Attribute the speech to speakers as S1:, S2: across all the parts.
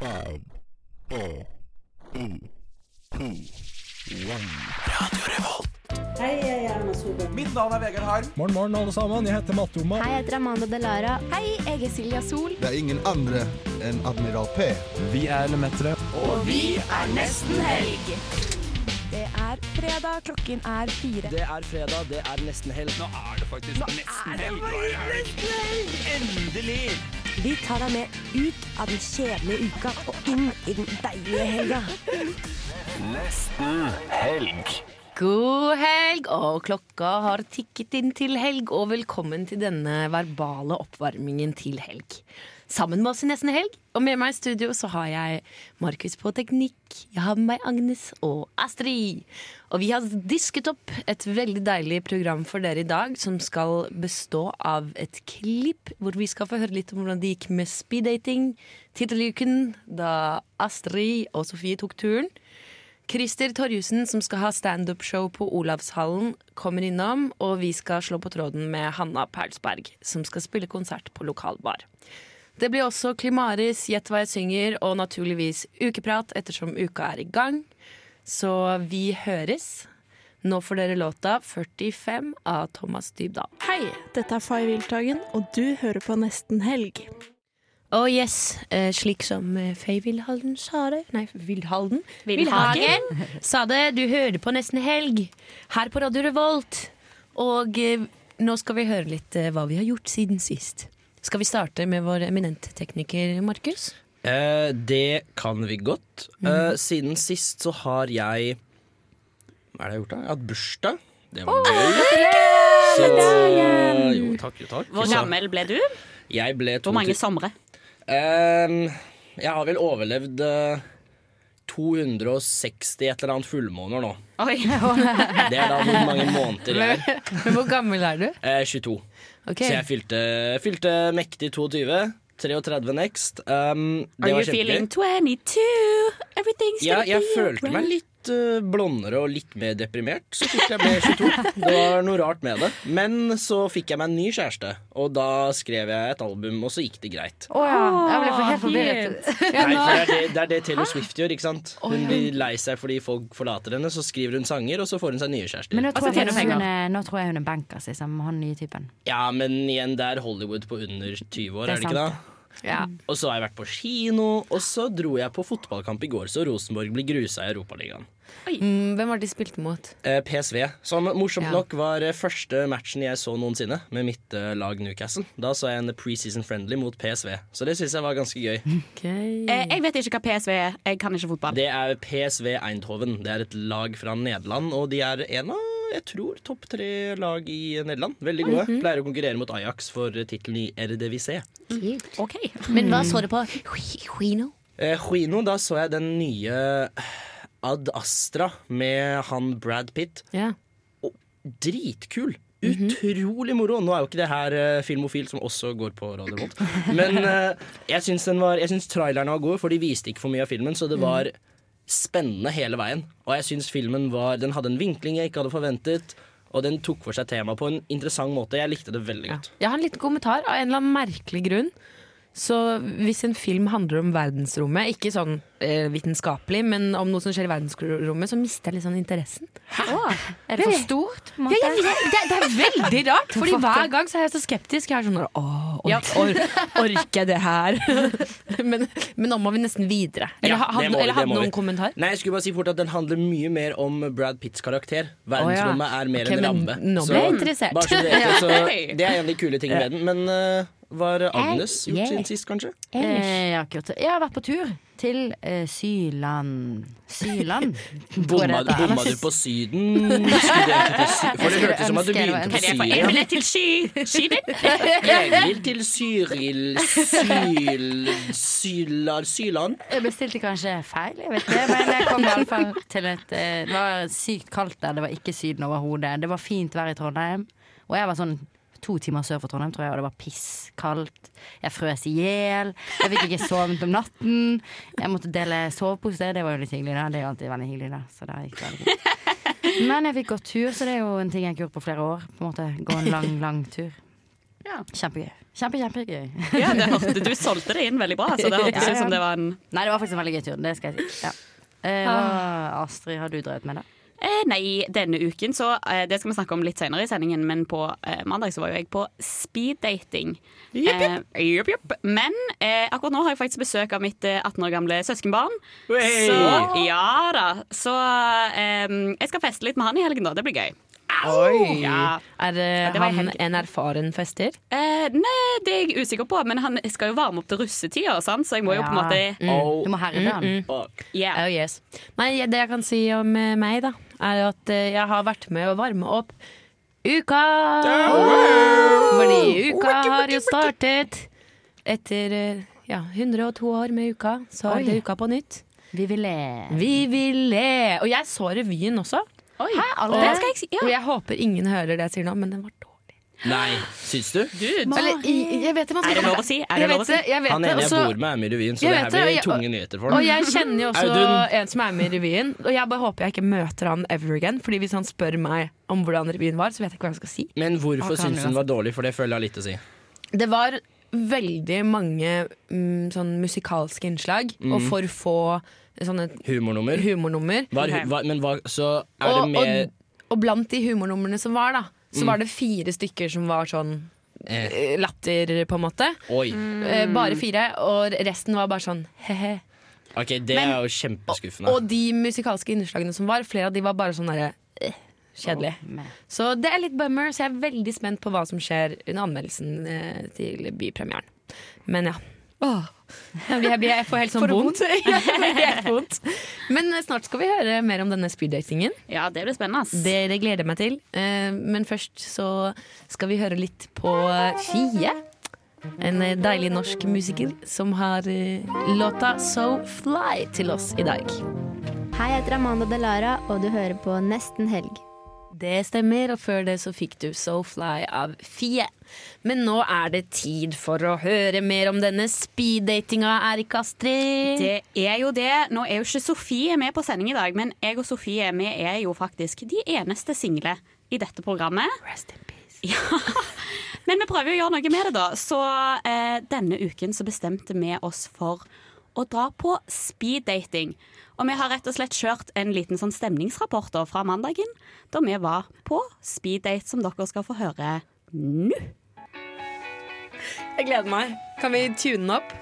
S1: L A N T one.
S2: Hei, jeg er Erna Solberg.
S3: Mitt navn er Vegard Harm.
S4: Morgen, morgen, alle sammen. Jeg heter Matte Oma.
S5: Hei, jeg heter Amanda Delara. Hei, jeg er Silja Sol.
S6: Det er ingen andre enn Admiral P.
S4: Vi er Lemetere.
S5: Det er fredag, klokken er fire.
S3: Det er fredag, det er nesten helg. Nå er det faktisk nesten helg. Endelig!
S7: Vi tar deg med ut av den kjedelige uka og inn i den deilige helga.
S8: God helg, og klokka har tikket inn til helg, og velkommen til denne verbale oppvarmingen til helg. Sammen med oss i Nesten Helg, og med meg i studio så har jeg Markus på teknikk, jeg har med meg Agnes og Astrid. Og vi har disket opp et veldig deilig program for dere i dag, som skal bestå av et klipp hvor vi skal få høre litt om hvordan det gikk med speeddating tidligere i uken, da Astrid og Sofie tok turen. Christer Torjussen, som skal ha standup-show på Olavshallen, kommer innom, og vi skal slå på tråden med Hanna Perlsberg, som skal spille konsert på lokalbar. Det blir også Klimaris, Gjett hva jeg synger, og naturligvis ukeprat, ettersom uka er i gang. Så vi høres. Nå får dere låta 45 av Thomas Dybdahl.
S9: Hei, dette er Fay Wiltagen, og du hører på Nesten Helg.
S8: Og yes, eh, slik som eh, Faye Wilhalden sa det Nei, Wilhalden.
S5: Wilhagen.
S8: sa det. Du hører på Nesten Helg her på Radio Revolt. Og eh, nå skal vi høre litt eh, hva vi har gjort siden sist. Skal vi starte med vår eminente tekniker Markus?
S3: Eh, det kan vi godt.
S10: Mm.
S3: Eh, siden sist så har jeg Hva er det jeg har gjort, da? Jeg har hatt bursdag. Det var gøy. Så, jo, takk, jo, takk.
S10: Hvor
S3: Så
S10: gammel ble du?
S3: Jeg ble
S10: Hvor mange somre?
S3: Ehm, jeg har vel overlevd eh, 260 et eller annet fullmåner nå.
S10: Oi.
S3: Det er da hvor mange måneder jeg er.
S8: Men hvor gammel er du?
S3: Eh, 22.
S8: Ok,
S3: Så jeg fylte, fylte mektig 22. 33 next. Um, det
S10: Are you
S3: var kjempegøy.
S10: feeling 22? Everything's
S3: Ja,
S10: gonna
S3: jeg
S10: be
S3: følte meg
S10: alright.
S3: litt eh, blondere og litt mer deprimert så fort jeg ble 22. Det var noe rart med det. Men så fikk jeg meg en ny kjæreste, og da skrev jeg et album, og så gikk det greit.
S8: Å ja. Jeg
S11: Ah,
S8: ble for helt
S10: Åh,
S8: forvirret. Ja,
S3: Nei,
S8: nå.
S3: for det, er det, det er det Taylor Swift gjør. ikke sant? Hun blir lei seg fordi folk forlater henne, så skriver hun sanger, og så får hun seg nye kjærester.
S11: Men nå
S10: Og så
S11: tror, jeg
S10: tjener
S11: hun,
S10: hun penger.
S11: er- nå tror jeg hun er bankers, liksom. Han nye typen.
S3: Ja, men igjen, det er Hollywood på under 20 år,
S11: Det er
S3: er det ikke
S11: sant.
S3: det?
S8: Ja.
S3: Og så har jeg vært på kino, og så dro jeg på fotballkamp i går, så Rosenborg blir grusa i Europaligaen.
S8: Mm, Hvem var det de spilte mot?
S3: Eh, PSV, som morsomt
S8: Ja.
S3: nok var eh, første matchen jeg så noensinne med mitt eh, lag Newcastle. Da så jeg en preseason friendly mot PSV, så det syns jeg var ganske gøy.
S10: Eh, Jeg vet ikke hva PSV er. Jeg kan ikke fotball.
S3: Det er PSV Eindhoven. Det er et lag fra Nederland, og de er en av jeg tror topp tre lag i Nederland. Veldig gode. Pleier å konkurrere mot Ajax for eh, tittelen i RDVC.
S10: OK.
S8: Men hva så du på? Huino?
S3: Eh, Juino, da så jeg den nye Ad Astra med han Brad Pitt.
S8: Ja.
S3: Dritkul! Utrolig moro! Nå er jo ikke det her eh, Filmofil, som også går på Radio Volt. Men eh, jeg syns den var- jeg syns trailerne var gode, for de viste ikke for mye av filmen. Så det var spennende hele veien. Og jeg syns filmen var Den hadde en vinkling jeg ikke hadde forventet. Og den tok for seg temaet på en interessant måte. Jeg likte det veldig godt.
S8: Jeg har en liten kommentar av en eller annen merkelig grunn. Så hvis en film handler om verdensrommet, ikke sånn eh, vitenskapelig, men om noe som skjer i verdensrommet, så mister jeg litt sånn interessen.
S11: Er det for stort? på en måte?
S8: Ja, jeg, vet- det, det er veldig rart, Fordi hver gang så er jeg så skeptisk. Jeg er sånn Åh, or, or, orker jeg det her? men, men nå må vi nesten videre. Eller,
S3: Ja,
S8: ha-
S3: det
S8: hadde,
S3: må vi,
S8: eller
S3: det
S8: hadde
S3: må vi.
S8: noen kommentar?
S3: Nei, jeg skulle bare si fort at Den handler mye mer om Brad Pitts karakter. Verdensrommet er mer
S8: Ok,
S3: en
S8: men
S3: ramme.
S8: nå ble jeg interessert.
S3: Bare så dere vet, så, det er en av de kule tingene med den. Men eh, var Agnes gjort
S11: Yeah.
S3: siden sist, kanskje?
S11: Eh, jeg, har ikke gjort det. jeg har vært på tur til eh, Syland. Syland? tror jeg
S3: Bomma,
S11: det heter.
S3: bomma du på Syden? Skulle du egentlig til Sy for det hørtes ut som at du
S11: ønske jeg
S3: begynte på
S11: var
S10: Hva er det for en
S3: Syria.
S10: billett til ski? Skibit?
S3: Jeg vil til Syril Syl... Sylar Syland.
S11: Jeg bestilte kanskje feil, jeg vet ikke. Men jeg kom iallfall til et eh, Det var sykt kaldt der, det var ikke Syden overhodet. Det var fint vær i Trondheim, og jeg var sånn to timer sør for Trondheim, tror jeg, og det var pisskaldt. Jeg frøs i hjel. Jeg fikk ikke sovet om natten. Jeg måtte dele sovepose, det var jo litt hyggelig, da. Det er jo alltid veldig hyggelig, da. Så det gikk veldig fint. Men jeg fikk gått tur, så det er jo en ting jeg ikke har gjort på flere år. På en måte Gå en lang, lang tur.
S10: Ja.
S11: Kjempegøy. Kjempe, kjempegøy.
S10: Ja, det hørte, du solgte det inn veldig bra. Så det hørtes
S11: Ja, ja.
S10: ut som det var en
S11: Nei, det var faktisk en veldig gøy tur. Det skal jeg si. Ja. Eh, hva, Astrid, har du drevet med det?
S10: eh, Nei, denne uken, så eh, Det skal vi snakke om litt senere i sendingen, men på eh, mandag så var jo jeg på speeddating.
S11: Jipp,
S10: Eh, jipp, jipp. Men eh, akkurat nå har jeg faktisk besøk av mitt eh, 18 år gamle søskenbarn.
S3: Wey!
S10: Så ja da. Så eh, jeg skal feste litt med han i helgen, da. Det blir gøy.
S8: Oi.
S10: Ja.
S8: Er eh,
S10: Ja, det var i
S8: han
S10: helgen.
S8: en erfaren fester?
S10: Eh, nei, det er jeg usikker på, men han skal jo varme opp til russetida, sant? så jeg må jo
S8: Ja.
S10: på en måte
S8: Mm. Du må herre han. Oh,
S10: Yeah.
S8: yes. Nei, det jeg kan si om eh, meg, da, er jo at eh, jeg har vært med å varme opp uka! Fordi uka har jo startet etter eh, ja, 102 år med uka. Så
S11: Oi.
S8: er det uka på nytt.
S11: Vi vil eh, le.
S8: Vi vil le! Og jeg så revyen også.
S10: Hæ,
S8: Og,
S10: Den skal jeg si.
S8: og
S10: Ja.
S8: jeg håper ingen hører det jeg sier nå, men den var dårlig.
S3: Nei, syns du?
S10: Dude.
S8: Eller, i- jeg vet det, man
S10: Er
S8: skal-
S10: det lov å si? Er
S8: Jeg
S10: det lov å
S8: vet det,
S10: si?
S8: jeg vet
S3: Han
S8: det,
S3: ene
S8: og
S3: jeg
S8: så-
S3: bor med, er med i revyen, så det
S8: Jeg vet
S3: her
S8: det, og
S3: blir
S8: jeg-
S3: tunge nyheter for
S8: Og
S3: ham.
S8: jeg kjenner jo også
S3: Audun.
S8: en som er med i revyen, og jeg bare håper jeg ikke møter han ever again. Fordi hvis han spør meg om hvordan revyen var, så vet jeg ikke hva jeg skal si.
S3: Men
S8: Han
S3: hvorfor
S8: kan
S3: syns
S8: jo
S3: hun var dårlig? For det føler jeg har litt å si.
S8: Det var veldig mange mm, sånn musikalske innslag,
S3: Mm.
S8: og for få sånne
S3: Humornummer.
S8: humornummer.
S3: Var, hu- var, men hva, så er
S8: og,
S3: det mer
S8: og, og blant de humornumrene som var, da, så
S3: Mm.
S8: var det fire stykker som var sånn
S3: eh,
S8: eh, latter, på en måte.
S3: Oi.
S10: Mm.
S8: Eh, Bare fire, og resten var bare sånn he-he.
S3: Ok, det
S8: Men-
S3: er jo kjempeskuffende.
S8: Og de musikalske innslagene som var, flere av de var bare sånn derre eh, Kjedelig. Så det er litt bummer, så jeg er veldig spent på hva som skjer under anmeldelsen eh, til bypremieren. Men ja. Åh. Jeg, blir, jeg, blir, jeg får helt sånn
S10: Får du
S8: vondt. Ja, jeg får helt vondt. Men eh, snart skal vi høre mer om denne speeddatingen.
S10: Ja, det blir spennende. ass.
S8: Dere gleder jeg meg til. Eh, Men først så skal vi høre litt på Fie. En eh, deilig norsk musiker som har eh, låta So Fly til oss i dag.
S12: Hei, jeg heter Amanda Delara, og du hører på Nesten helg.
S8: Det stemmer, og før det så fikk du So Fly av Fie. Men nå er det tid for å høre mer om denne speeddatinga, Erik Astrid.
S10: Det er jo det. Nå er jo ikke Sofie med på sending i dag, men jeg og Sofie vi er jo faktisk de eneste single i dette programmet.
S8: Rest in
S10: peace. Ja. Men vi prøver jo å gjøre noe med det, da. Så eh, denne uken så bestemte vi oss for å dra på speeddating. Og vi har rett og slett kjørt en liten sånn stemningsrapport da fra mandagen, da vi var på speeddate, som dere skal få høre nå.
S8: Jeg gleder meg. Kan vi tune den opp?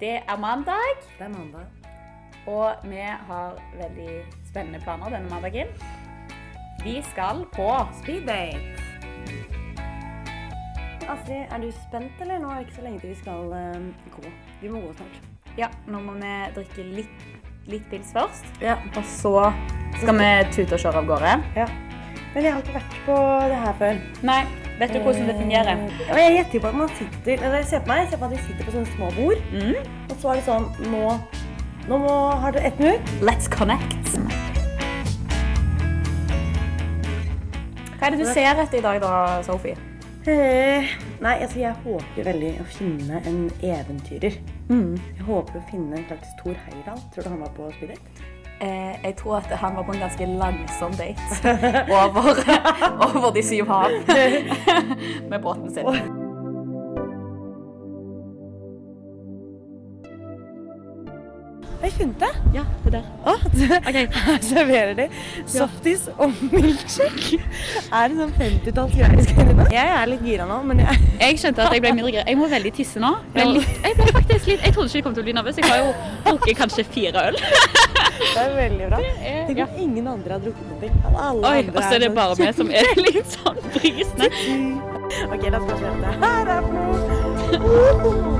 S10: Det er mandag. Det er mandag. Og vi har veldig spennende planer denne mandagen. Vi skal på speeddate.
S13: Astrid, er du spent, eller? Nå er det ikke så lenge til vi skal eh, gå. Vi må gå snart.
S10: Ja, nå må vi drikke litt, litt pils først.
S13: Ja.
S10: Og så skal vi tute og kjøre av gårde.
S13: Ja. Men jeg har ikke vært på det her før.
S10: Nei, vet du hvordan det fungerer?
S13: Eh, ja, men jeg gjetter jo på at man sitter eller jeg ser på meg, jeg ser på at vi sitter på sånne små bord.
S10: Mm.
S13: Og så er det sånn Nå, nå må, har dere ett minutt.
S10: Let's connect. Hva er det du ser etter i dag da, Sophie?
S13: Eh, nei, altså jeg håper veldig å finne en eventyrer.
S10: Mm.
S13: Jeg håper å finne en slags Thor Heyerdahl. Tror du han var på speeddate?
S10: Eh, jeg tror at han var på en ganske langsom date over, de syv hav med båten sin.
S13: Har jeg funnet det? Ja, det der. Her serverer de softis og milkshake. Er det sånn 50-talls greier vi skal inn i nå? Jeg er litt gira nå, men jeg
S10: Jeg skjønte at jeg ble mindre gira. Jeg må veldig tisse nå. Ble litt, jeg ble faktisk litt Jeg trodde ikke jeg kom til å bli nervøs. Jeg har jo drukket kanskje fire øl.
S13: Det er veldig bra. Tenk om ingen andre har drukket noe. At alle
S10: Oi,
S13: andre
S10: og så er det
S13: sånn
S10: bare vi som er litt sånn brisne.
S13: OK, la uh. oss bare se hva det her er for noe.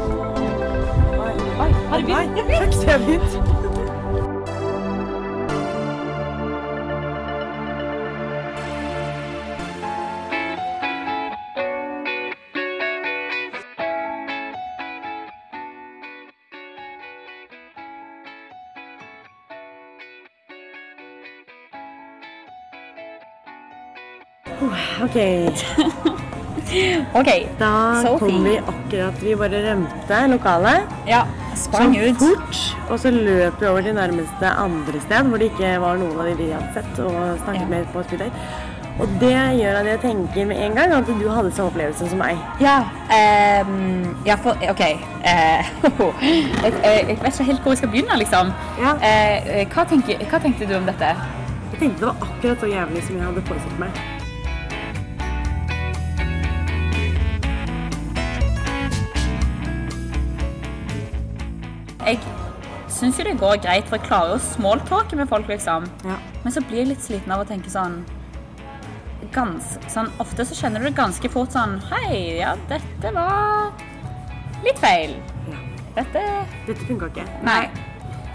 S13: Oi, oi,
S10: Har
S13: nei, fuck, ser jeg begynt? OK.
S10: OK.
S13: Da
S10: Sophie.
S13: kom vi akkurat Vi bare rømte lokalet.
S10: Ja,
S13: sprang ut. Og så løp vi over til nærmeste andre sted, hvor det ikke var noen av de vi hadde sett og snakket med på speed date. Og det gjør at jeg tenker med en gang at du hadde samme opplevelse som meg.
S14: Ja, ehm, ja for, OK. eh, jeg, jeg jeg vet ikke helt hvor jeg skal begynne, liksom. Eh, hva, tenker, hva tenkte du om dette?
S13: Jeg tenkte det var akkurat så jævlig som jeg hadde forestilt meg.
S14: Jeg syns jo det går greit, for jeg klarer jo å smalltalke med folk, liksom. Men så blir jeg litt sliten av å tenke sånn gans, sånn, Ofte så kjenner du det ganske fort sånn Hei, ja, dette var litt feil. Dette
S13: Dette funka ikke.
S14: Nei.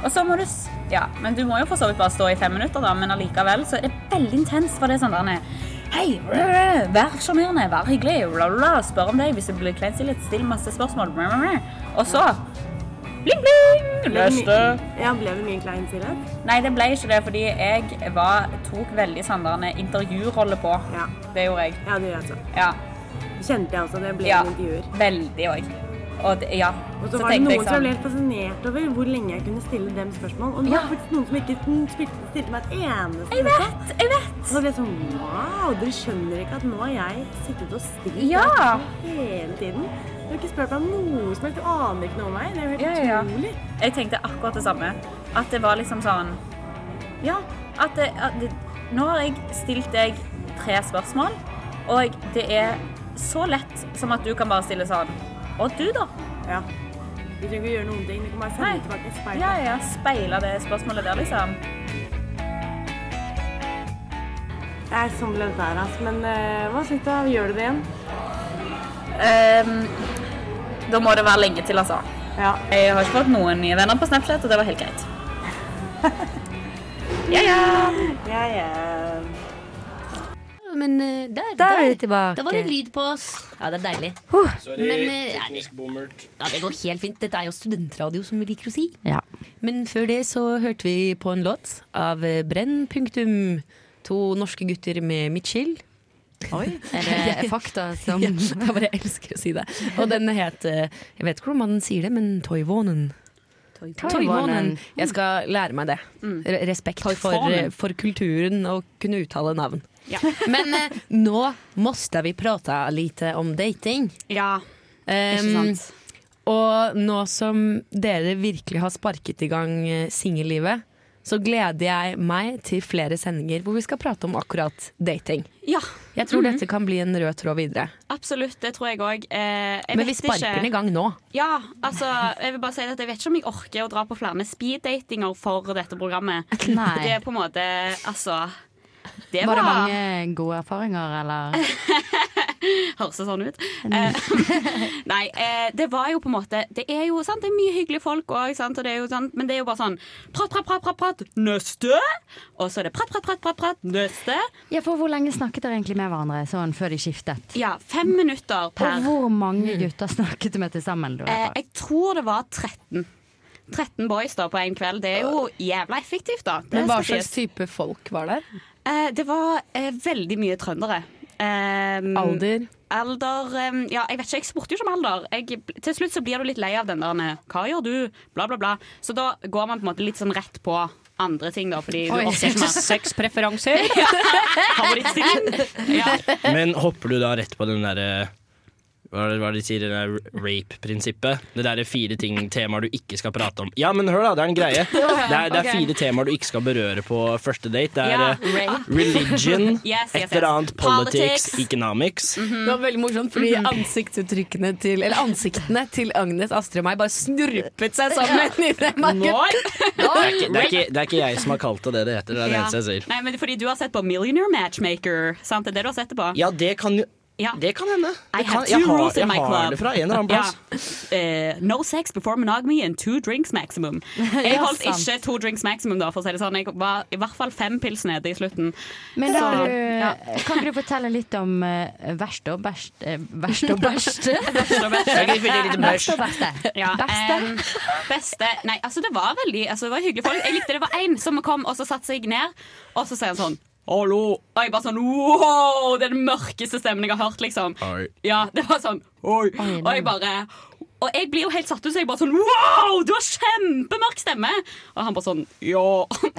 S14: Og så må du s- Ja, men du må jo for så vidt bare stå i fem minutter, da, men allikevel så er det veldig intenst, for det er sånn der Hei, rø, rø, vær sjarmerende, vær hyggelig, bla, bla, bla, spør om deg hvis du blir klein, si litt, still masse spørsmål, bla, bla, bla. Og så Bling, bling!
S13: Ble det my-
S14: Neste.
S13: Ja, ble det mye klein stillhet?
S14: Nei, det ble ikke det, fordi jeg var, tok veldig sånn der en intervjurolle på. Det gjorde jeg.
S13: Ja, det gjør jeg også.
S14: Ja.
S13: Kjente jeg også. Det ble
S14: Ja.
S13: noen intervjuer.
S14: Veldig òg. Og det, ja.
S13: Og så var det
S14: tenkte jeg sånn.
S13: noen som ble helt fascinert over hvor lenge jeg kunne stille dem spørsmål. Og det var faktisk noen som ikke sn- spilte- stilte meg et eneste
S14: Jeg vet, jeg vet.
S13: Og så ble jeg sånn wow, dere skjønner ikke at nå har jeg sittet og stilt
S14: Ja.
S13: spørsmål hele tiden. Du har ikke spurt meg om noe som helst, du aner ikke noe om meg. Det er jo helt utrolig.
S14: Jeg tenkte akkurat det samme. At det var liksom sånn Ja, at det, at det Nå har jeg stilt deg tre spørsmål, og det er så lett som at du kan bare stille sånn Og du, da?
S13: Ja. Du trenger ikke gjøre noen ting. Du kan bare
S14: Nei.
S13: sende tilbake et speil.
S14: Ja, ja. Speile det spørsmålet der, liksom.
S13: Det er sånn det er, altså. Men eh, hva syns du? av- Gjør du det igjen?
S14: Ehm, da må det være lenge til, altså. Jeg har ikke fått noen nye venner på Snapchat, og det var helt greit. ja, ja.
S13: Ja, ja.
S8: Men eh, der, der,
S11: er vi tilbake.
S8: Da var det lyd på oss. Ja, det er deilig.
S11: Sorry,
S8: Men eh, ja, det,
S3: teknisk bommert.
S8: ja, det går helt fint. Dette er jo studentradio, som vi liker å si.
S11: Ja.
S8: Men før det så hørte vi på en låt av eh, Brenn. Punktum. To norske gutter med midtskill. Oi.
S11: Er det fakta som-
S8: ja, Jeg bare elsker å si det. Og den het eh, Jeg vet ikke hvordan man sier det, men Toivonen. Toivonen. Jeg skal lære meg det.
S10: Mm.
S8: Re- Respekt for,
S11: Toivonen.
S8: for kulturen og kunne uttale navn.
S10: Ja.
S8: Men eh, nå måste vi prate lite om dating.
S10: Ja,
S8: Ehm,
S10: ikke sant.
S8: Og nå som dere virkelig har sparket i gang eh, singellivet, så gleder jeg meg til flere sendinger hvor vi skal prate om akkurat dating.
S10: Ja.
S8: Jeg tror
S10: Mhm.
S8: dette kan bli en rød tråd videre.
S10: Absolutt, det tror jeg òg. Eh, jeg
S8: Men vi
S10: vet
S8: sparker
S10: ikke-
S8: den i gang nå.
S10: Ja, altså, jeg vil bare si at jeg vet ikke om jeg orker å dra på flere speeddatinger for dette programmet.
S8: Nei.
S10: Det er på en måte Altså. Det
S8: Var
S10: var,
S8: det
S11: mange gode erfaringer, eller?
S10: Høres det sånn ut? Eh, nei, eh, det var jo på en måte Det er jo sant, det er mye hyggelige folk òg, sant, og det er jo sant, men det er jo bare sånn prat, prat, prat, prat, prat, neste! Og så er det prat, prat, prat, prat, prat, neste.
S11: Ja, for Hvor lenge snakket dere egentlig med hverandre sånn før de skiftet?
S10: Ja, fem minutter per.
S11: Og hvor mange gutter snakket du med til sammen? Du,
S10: Eh, jeg tror det var 13. 13 boys da på en kveld. Det er jo jævla effektivt, da. Det
S15: Men hva
S10: skal
S15: slags
S10: sies.
S8: type folk var der?
S10: Eh, det var eh, veldig mye trøndere.
S14: Mm.
S10: Ehm,
S8: Alder?
S10: Alder ehm, Ja, jeg vet ikke, jeg spurte jo ikke om alder. Jeg, til slutt så blir du litt lei av den der 'hva gjør du', bla, bla, bla. Så da går man på en måte litt sånn rett på andre ting, da, fordi
S8: Oi,
S10: du orker ikke mer.
S8: Sexpreferanser?
S10: ja. Favorittstilling? Ja.
S3: Men hopper du da rett på den derre hva er det- hva er det de sier, det der rape-prinsippet? Det derre fire ting temaer du ikke skal prate om. Ja, men hør, da, det er en greie. Det er, det er
S10: Ok.
S3: fire temaer du ikke skal berøre på første date. Det er
S10: Ja,
S3: eh,
S10: rape.
S3: religion,
S10: Yes, yes,
S3: et eller
S10: yes.
S3: annet, politics,
S10: Politics. Mm-hmm.
S3: economics.
S8: Det var veldig morsomt, fordi
S14: Mm.
S8: ansiktsuttrykkene til Eller ansiktene til Agnes, Astrid og meg bare snurpet seg sammen i det markedet.
S3: Det er, ikke, det, er ikke, det er ikke jeg som har kalt det det det heter. Det er det
S10: Ja.
S3: eneste jeg sier.
S10: Nei, men fordi du har sett på Millionaire Matchmaker, sant? Det er det du har sett det på?
S3: Ja, det kan jo Det kan hende.
S10: I
S3: Det kan-
S10: have
S3: jeg
S10: two
S3: har-
S10: rules
S3: jeg
S10: in my
S3: har
S10: club.
S3: det fra en eller annen plass.
S10: Ja. Eh, no sex before monogamy and two drinks maximum. Jeg
S11: Ja,
S10: holdt
S11: sant.
S10: ikke to drinks maximum, da, for å si det sånn. Jeg var i hvert fall fem pils nede i slutten.
S11: Men
S10: Så,
S11: da, har du,
S10: ja.
S11: Kan ikke du fortelle litt om uh, verst og bæsj uh, Verst og bæsj?
S10: Verst og bæsj.
S11: Jeg kan finne litt bæsj. Verst og
S10: Ja,
S11: Bæsj.
S10: em, beste Nei, altså, det var veldig altså, det var hyggelige folk. Jeg likte det var én som kom og så satte seg ned, og så sier han sånn Hallo. Og jeg bare sånn Wow! Det er den mørkeste stemmen jeg har hørt, liksom. Ja, det var sånn Oi. Og jeg bare Og jeg blir jo helt satt ut, så jeg bare sånn Wow, du har kjempemørk stemme! Og han bare sånn Ja,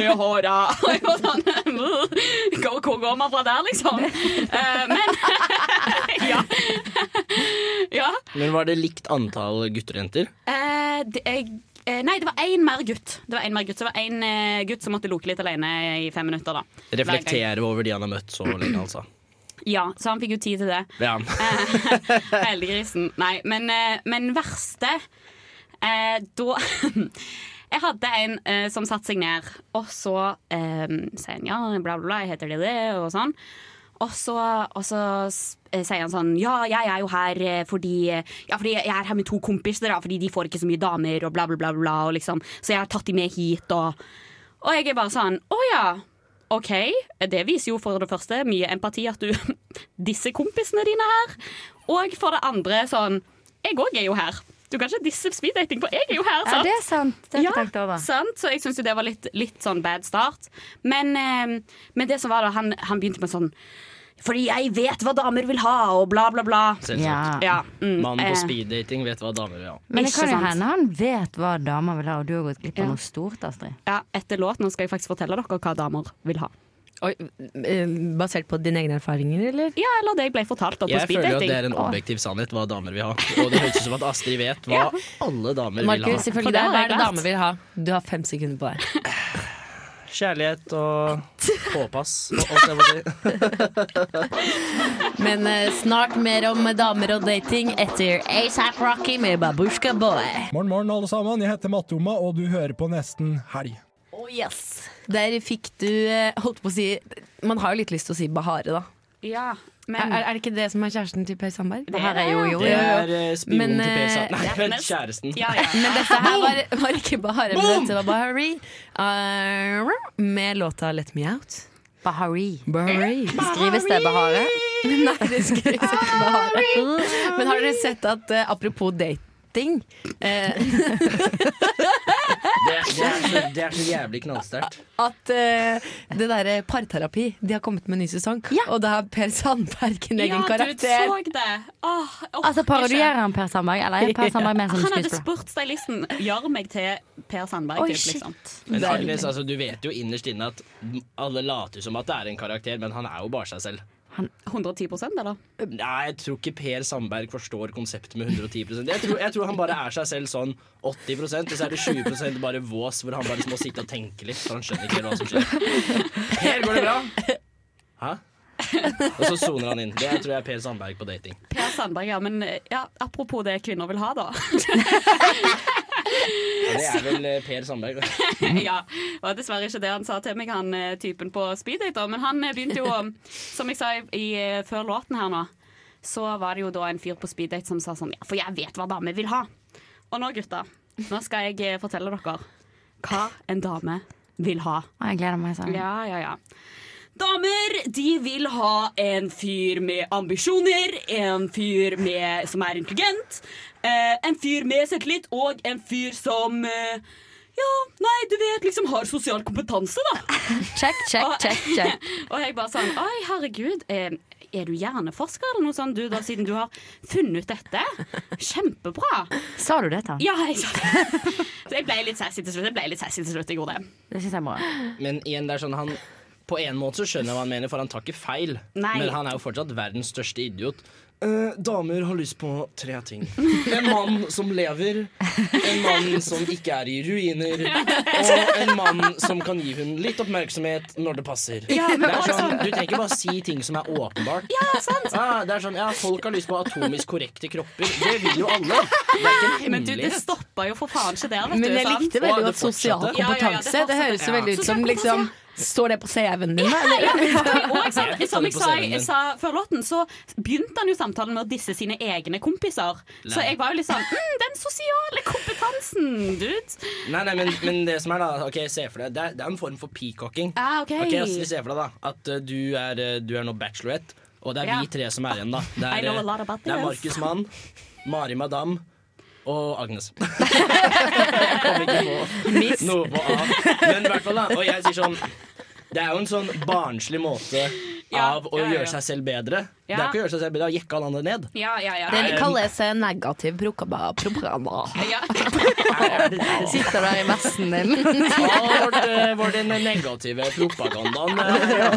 S10: det har jeg. Og jeg bare sånn Hvor, hvor går man fra der, liksom? Eh, men Ja. ja.
S3: Men var det likt antall gutter og jenter?
S10: Eh, det, jeg, eh, nei, det var én mer gutt. Det var en mer gutt, Så det var én gutt som måtte loke litt alene i fem minutter. da Hver gang.
S3: Reflektere over de han har møtt så lenge, altså.
S10: Ja, så han fikk jo tid til det.
S3: Ja.
S10: Heldiggrisen. Nei, men, eh, men verste eh, Da Jeg hadde en eh, som satte seg ned, og så eh, sier han ja, bla, bla, bla, jeg heter det det, og sånn. Og så, og så s- eh, sier han sånn ja, jeg er jo her eh, fordi Ja, fordi jeg er her med to kompiser, da, fordi de får ikke så mye damer, og bla, bla, bla, bla, og liksom. Så jeg har tatt de med hit, og Og jeg er bare sånn å ja. OK, det viser jo for det første mye empati at du disser kompisene dine her. Og for det andre sånn Jeg òg er jo her. Du kan ikke disse speeddating, for jeg er jo her.
S11: Ja,
S10: sant?
S11: det er sant. Det har jeg ikke
S10: Ja,
S11: tenkt over.
S10: sant? Så jeg syns jo det var litt, litt sånn bad start. Men, eh, men det som var da, han, han begynte med sånn Fordi jeg vet hva damer vil ha, og bla, bla, bla.
S3: Selvsagt.
S10: Ja, mm,
S3: Mann på
S10: eh,
S3: speeddating vet hva damer vil ha.
S11: Men det
S10: Ikke
S11: kan jo
S10: sant.
S11: hende han vet hva damer vil ha, og du har gått glipp av
S10: Ja.
S11: noe stort, Astrid.
S10: Ja, etter låten skal jeg faktisk fortelle dere hva damer vil ha.
S14: eh, basert på dine egne erfaringer, eller?
S10: Ja, eller det jeg ble fortalt da på
S3: Jeg føler jo at
S10: speeddating.
S3: det er en objektiv sannhet hva damer vil ha. Og det høres ut som at Astrid vet hva
S14: Ja.
S3: alle damer vil ha.
S14: Markus, ifølge deg,
S10: det har
S14: hva
S10: jeg
S14: er det
S10: lært.
S14: damer vil ha? Du har fem sekunder på deg.
S3: Kjærlighet og påpass og alt jeg må si.
S14: Men eh, snart mer om damer og dating etter ASAP Rocky med Babushka Boy.
S4: Morgen, morgen, alle sammen. Jeg heter Matoma, og du hører på Nesten Helg.
S14: Oh yes! Der fikk du eh, holdt på å si Man har jo litt lyst til å si Bahare, da.
S10: Ja,
S14: Er, er det ikke det som er kjæresten til Per Sandberg?
S11: Bahare er jo- jo,
S3: Det er eh, spionen
S14: Men,
S3: til Per Sand-
S14: eh,
S3: Nei, vent, kjæresten.
S14: Men dette her var, var ikke Bahare, men
S11: Boom!
S14: dette var Bahari. eh, med låta Let Me Out.
S11: Bahari.
S14: Bahari.
S10: Eh?
S11: Skrives det Bahare?
S14: Nei, det skrives ikke Bahare. Men har dere sett at eh, apropos dating eh,
S3: Det, det, er så, det er så jævlig knallsterkt.
S14: At eh, det derre parterapi De har kommet med en ny sesong, og det er Per Sandberg en egen karakter.
S10: Ja, du så det. Ah, Åh, jeg orker
S11: Altså parodierer han Per Sandberg, eller er Per Sandberg med som
S10: Han hadde
S11: skuespiller?
S10: spurt stylisten Gjør meg til Per Sandberg.
S11: Oi,
S10: typ,
S11: shit.
S10: liksom.
S3: Men Agnes, altså, du vet jo innerst inne at alle later som at det er en karakter, men han er jo bare seg selv.
S10: 110 eller?
S3: Nei, jeg tror ikke Per Sandberg forstår konseptet med 110 jeg tror, jeg tror han bare er seg selv sånn 80 og så er det 20 bare vås, hvor han bare liksom må sitte og tenke litt, for han skjønner ikke helt hva som skjer. Per, går det bra? Hæ? Og så soner han inn. Det tror jeg er Per Sandberg på dating.
S10: Per Sandberg, ja. Men eh, ja, apropos det kvinner vil ha, da.
S3: Og det er vel eh, Per Sandberg. da.
S10: ja, det var dessverre ikke det han sa til meg, han eh, typen på speeddate. da, Men han eh, begynte jo, å- som jeg sa i, i, eh, før låten her nå, så var det jo da en fyr på speeddate som sa sånn Ja, for jeg vet hva damer vil ha. Og nå, gutta, nå skal jeg eh, fortelle dere hva en dame vil ha.
S11: Å, Jeg gleder meg sånn.
S10: Ja, ja, ja. Damer de vil ha en fyr med ambisjoner, en fyr med, som er intelligent, eh, en fyr med selvtillit og en fyr som eh, ja, nei, du vet, liksom har sosial kompetanse, da.
S11: Check, check, check, check.
S10: og jeg bare sånn Oi, herregud. Eh, er du hjerneforsker eller noe sånt, du, da, siden du har funnet ut dette? Kjempebra.
S11: Sa du det til han?
S10: Ja, jeg sa det. Så jeg ble litt sassy til slutt. Jeg ble litt sassy til slutt, jeg gjorde det.
S11: Det syns jeg er bra.
S3: Men igjen, det er sånn han På en måte så skjønner jeg hva han mener, for han tar ikke feil.
S10: Nei.
S3: Men han er jo fortsatt verdens største idiot. Eh, damer har lyst på tre ting. En mann som lever, en mann som ikke er i ruiner, og en mann som kan gi hun litt oppmerksomhet når det passer.
S10: Ja, men
S3: det er
S10: også-
S3: sånn, du trenger ikke bare si ting som er åpenbart. Ja, sant. det er sånn, ja, Folk har lyst på atomisk korrekte kropper. Det vil jo alle. Det er ikke en
S10: Men du, det
S3: hemmelighet.
S10: stoppa jo for faen ikke der, vet du.
S14: Men jeg
S10: sant?
S14: likte
S3: Å,
S14: veldig
S3: det
S14: godt sosial
S3: fortsatte.
S14: kompetanse.
S10: Ja, ja, ja, det
S14: det, høres
S10: fortsatte,
S14: jo
S10: ja.
S14: veldig ut
S10: Sosial
S14: som liksom Står det på CV-en din, da? eller?
S10: Og ikke sant,
S14: Jeg
S10: som jeg
S14: forstår
S10: sa,
S14: det på
S10: jeg sa før låten, så begynte han jo samtalen med å disse sine egne kompiser. Så jeg var jo litt sånn mm, Den sosiale kompetansen, dude.
S3: Nei, nei, men, men det som er da Ok, se for deg Det er, det er en form for peacocking
S10: Ah, ok.
S3: Astrid, se for deg da At eh, du er, eh, du er nå bachelorette Og det er
S10: Ja.
S3: vi tre som er igjen da Det
S10: I
S3: er,
S10: know a
S3: eh,
S10: lot about
S3: det er
S10: this.
S3: Markus Mann Mari Madame og Agnes Jeg kom ikke på
S14: Miss.
S3: noe på A Men i hvert fall da Og jeg sier sånn Det er jo en sånn barnslig måte
S10: Ja,
S3: av å
S10: ja, ja.
S3: gjøre seg selv bedre. Det er
S10: Ja.
S3: ikke å gjøre seg selv bedre, det er å jekke alle andre ned.
S10: Ja, ja, ja.
S3: Det
S8: kalles eh, negativ propaganda. propaganda.
S10: Ja.
S8: Sitter der i vesten din.
S3: Hva var det- var den negative propagandaen? eh, ja.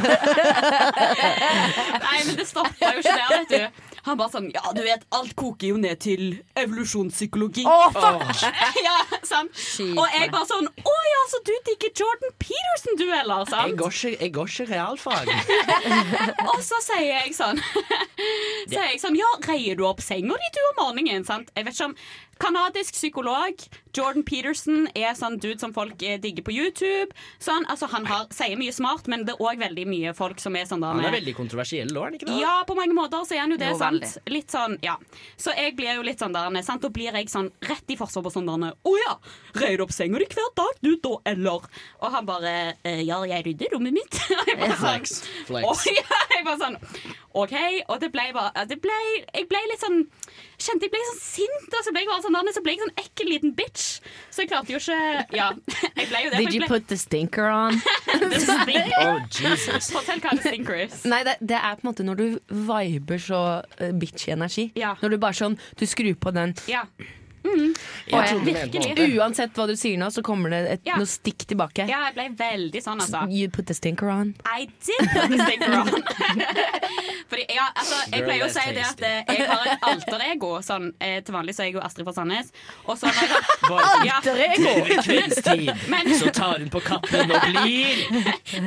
S10: Nei, men det stoppa jo ikke der, vet du. Han bare sånn Ja, du vet, alt koker jo ned til evolusjonspsykologi.
S13: Å, fuck!
S10: ja, sant? Og jeg bare sånn Å ja, så du digger Jordan Peterson, du, eller?
S3: Jeg
S10: Sant?
S3: går ikke, jeg går ikke realfag.
S10: Og så sier jeg sånn Sier jeg sånn Ja, reier du opp senga di du om morgenen? Sant? Jeg vet ikke om Kanadisk psykolog Jordan Peterson er sånn dude som folk eh, digger på YouTube. Sånn, altså Han har, sier mye smart, men det er òg veldig mye folk som er sånn der
S3: Han er
S10: med-
S3: veldig kontroversiell òg, er han ikke det?
S10: Ja, på mange måter så er han jo det,
S3: Jo,
S10: sant?
S3: veldig.
S10: Litt sånn, ja. Så jeg blir jo litt sånn der, sant? Da blir jeg sånn rett i forsvar på sånn der, å ja, reier du opp senga di hver dag, du da, eller? Og han bare, «Eh, ja, jeg rydder rommet mitt. Og jeg bare sånn,
S3: Flex.
S10: å
S3: Flex.
S10: ja, jeg bare sånn, ok, og det ble bare, det ble, jeg ble litt sånn, kjente jeg ble sånn sint, og så ble jeg bare sånn, der, så ble jeg sånn ekkel liten bitch. Så jeg klarte jo ikke, ja, jeg ble jo det. for
S8: Did
S10: jeg
S8: you
S10: ble-
S8: put the stinker on?
S10: Det stinker.
S8: Oh, Jesus.
S10: Fortell hva det stinker is.
S8: Nei, det, det er på en måte når du viber så eh, bitchy energi. Når du bare sånn, du skrur på den
S10: Ja.
S8: Og
S10: Jeg
S8: jeg-
S10: trodde du mente noe.
S8: Virkelig. Uansett hva du sier nå, så kommer det et, noe stikk tilbake.
S10: Ja, jeg ble veldig sånn, altså.
S8: You put the stinker on.
S10: I did put the sticker on. Fordi, ja, altså, jeg
S8: Girl,
S10: pleier å
S8: that's
S10: si det at eh, jeg har et alterego. Sånn, eh, til vanlig så er jeg jo Astrid fra Sandnes. Og så når
S3: Bare-
S10: jeg
S3: Til kveldstid
S10: Men-
S3: så tar hun på kappen og blir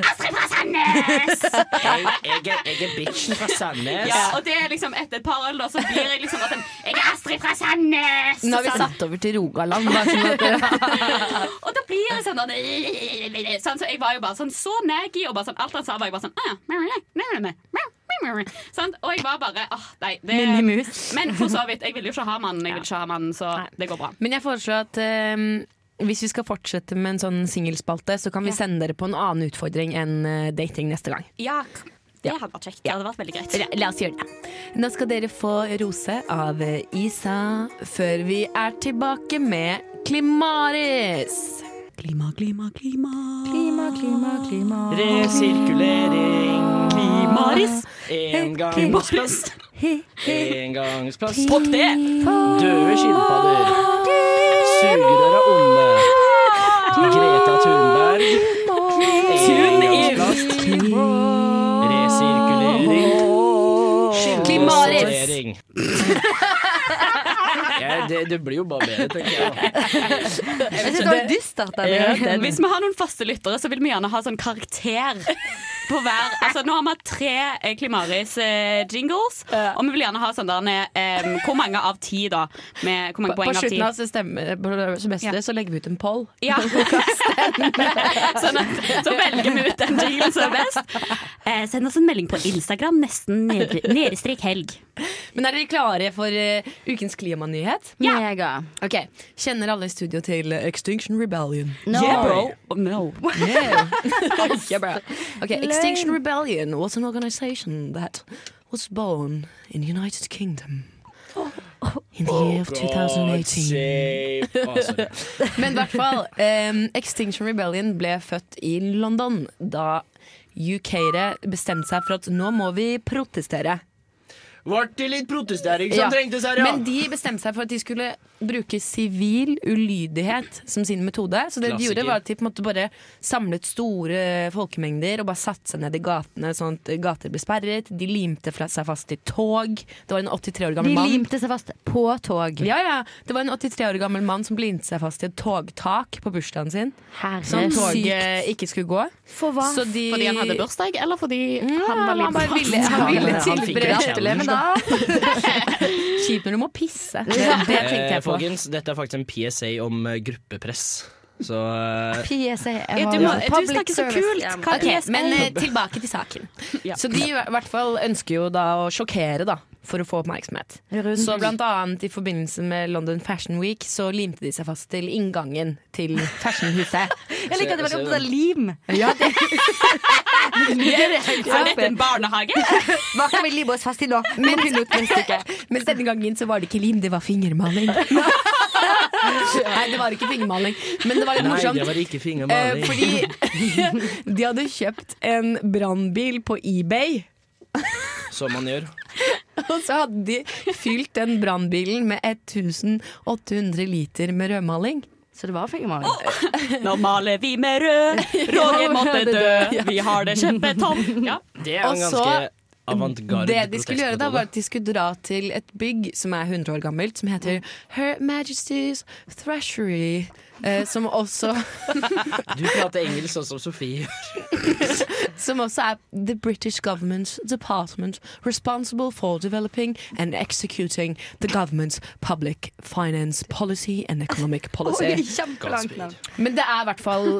S10: Astrid fra Sandnes!
S3: Jeg, jeg, er, jeg er bitchen fra Sandnes.
S10: Ja, og det er liksom etter et par øl, da, så blir jeg liksom sånn Jeg er Astrid fra Sandnes!
S8: Nå har vi
S10: Sånn.
S8: satt over til Rogaland. Bare sånn at
S10: Og da blir det sånn, der, sånn Så jeg var jo bare sånn så naggy, og bare sånn, alt han sa, var jeg bare sånn ah, meh, meh, meh, meh, meh, meh, meh. Sant? Sånn, Og jeg var bare åh, nei. Det,
S8: Minimus.
S10: men for så vidt. Jeg ville jo ikke ha mannen, jeg vil ikke ha mannen, så det går bra.
S8: Men jeg foreslår at ehm, hvis vi skal fortsette med en sånn singelspalte, så kan vi sende dere på en annen utfordring enn eh, dating neste gang.
S10: Ja, det hadde vært kjekt. Det hadde vært veldig greit.
S8: La, la oss gjøre det. Nå skal dere få rose av eh, Isa før vi er tilbake med Klimaris.
S13: Klima, klima, klima.
S8: Klima, klima, klima.
S3: Resirkulering.
S13: Klimaris.
S3: Engangsplast. Engangsplast.
S13: Fuck det!
S3: Døde skilpadder. Sugere onde. Greta Thunberg. Engangsplast. Resirkulering.
S13: Klimaris.
S3: Sortering. Ja, det, det blir jo bare bedre, tenker jeg. da.
S10: Jeg
S8: synes det var dystert, da.
S10: Ja. Hvis vi har noen faste lyttere, så vil vi gjerne ha sånn karakter på hver Altså, nå har vi hatt tre eh, Klimaris-jingles, og vi vil gjerne ha sånn der eh, Hvor mange av ti, da? Med, hvor
S8: På,
S10: mange
S8: på
S10: poeng av ti?
S8: slutten av stemmer, på det beste, så legger vi ut en poll.
S10: Ja. sånn at, så velger vi ut den jinglen som er best. Eh, send oss en melding på Instagram, nesten nedre- nedestrek helg.
S8: Men er dere klare for eh, ukens klimanyhet?
S10: Ja.
S8: Mega. Ok, Kjenner alle i studio til Extinction Rebellion?
S10: No. Yeah, bro. No.
S8: Yeah. yeah, bro. Okay,
S10: Lame.
S8: Extinction Rebellion was an organization that was born in the United Kingdom.
S10: Oh.
S8: In the year of
S3: Oh,
S8: 2018. Men i hvert fall, em, Extinction Rebellion ble født i London da UK-ere bestemte seg for at nå må vi protestere.
S3: Vart det litt protestering som
S8: Ja.
S3: trengtes her, ja?
S8: Men de bestemte seg for at de skulle bruke sivil ulydighet som sin metode. Så det de
S3: Klassiker.
S8: gjorde var at de på en måte bare samlet store folkemengder og bare satte seg ned i gatene, sånn at gater ble sperret. De limte fra- seg fast til tog. Det var en 83 år gammel
S11: De
S8: mann.
S11: limte seg fast på tog.
S8: Ja, ja. Det var en 83 år gammel mann som limte seg fast til et togtak på bursdagen sin.
S11: Herre
S8: Som toget
S11: sykt.
S8: ikke skulle gå.
S11: For hva?
S8: Så de-
S10: Fordi han hadde bursdag, eller fordi han
S8: Ja,
S10: var
S8: men han bare ville, han
S10: Han-
S8: ville
S10: han fikk en
S8: tilberette
S10: challenge,
S8: men da. Kjipt når du må pisse. Det, det tenkte
S3: Eh,
S8: jeg på.
S3: Folkens, dette er faktisk en PSA om eh, gruppepress. Så eh,
S11: PSA
S8: Ja, du må- du snakker så kult. Hva
S11: Ok,
S8: PSA?
S11: men eh,
S8: tilbake til saken. Så de i hvert fall ønsker jo da å sjokkere, da. For å få oppmerksomhet.
S11: Rundt.
S8: Så blant annet i forbindelse med London Fashion Week så limte de seg fast til inngangen til fashionhuset.
S11: Jeg liker at de var opptatt av lim.
S8: Ja, det
S10: Er dette en barnehage?
S11: Hva kan vi libe oss fast til nå? Men,
S8: Mens denne gangen så var det ikke lim, det var fingermaling. Nei, det var ikke fingermaling, men det var litt
S3: Nei,
S8: morsomt.
S3: det var ikke fingermaling.
S8: Eh, fordi de hadde kjøpt en brannbil på eBay.
S3: Som man gjør.
S8: Og så hadde de fylt den brannbilen med 1800 liter med rødmaling. Så det var fingermaling.
S10: Nå maler vi med rød, Roger måtte dø,
S8: Ja.
S10: vi har det kjempetomt. Ja.
S3: Det er jo
S8: Og
S3: en
S8: så-
S3: ganske avantgarde
S8: Det de skulle gjøre da,
S3: protestmetode.
S8: var at de skulle dra til et bygg som er 100 år gammelt, som heter
S3: Mm.
S8: Her Majesty's Thrashery. Eh, som også
S3: Du prater engelsk sånn som Sofie gjør.
S8: Som også er The British Government's Department responsible for developing and executing the government's public finance policy and economic policy.
S14: Oi, kjempelangt navn.
S8: Men det er i hvert fall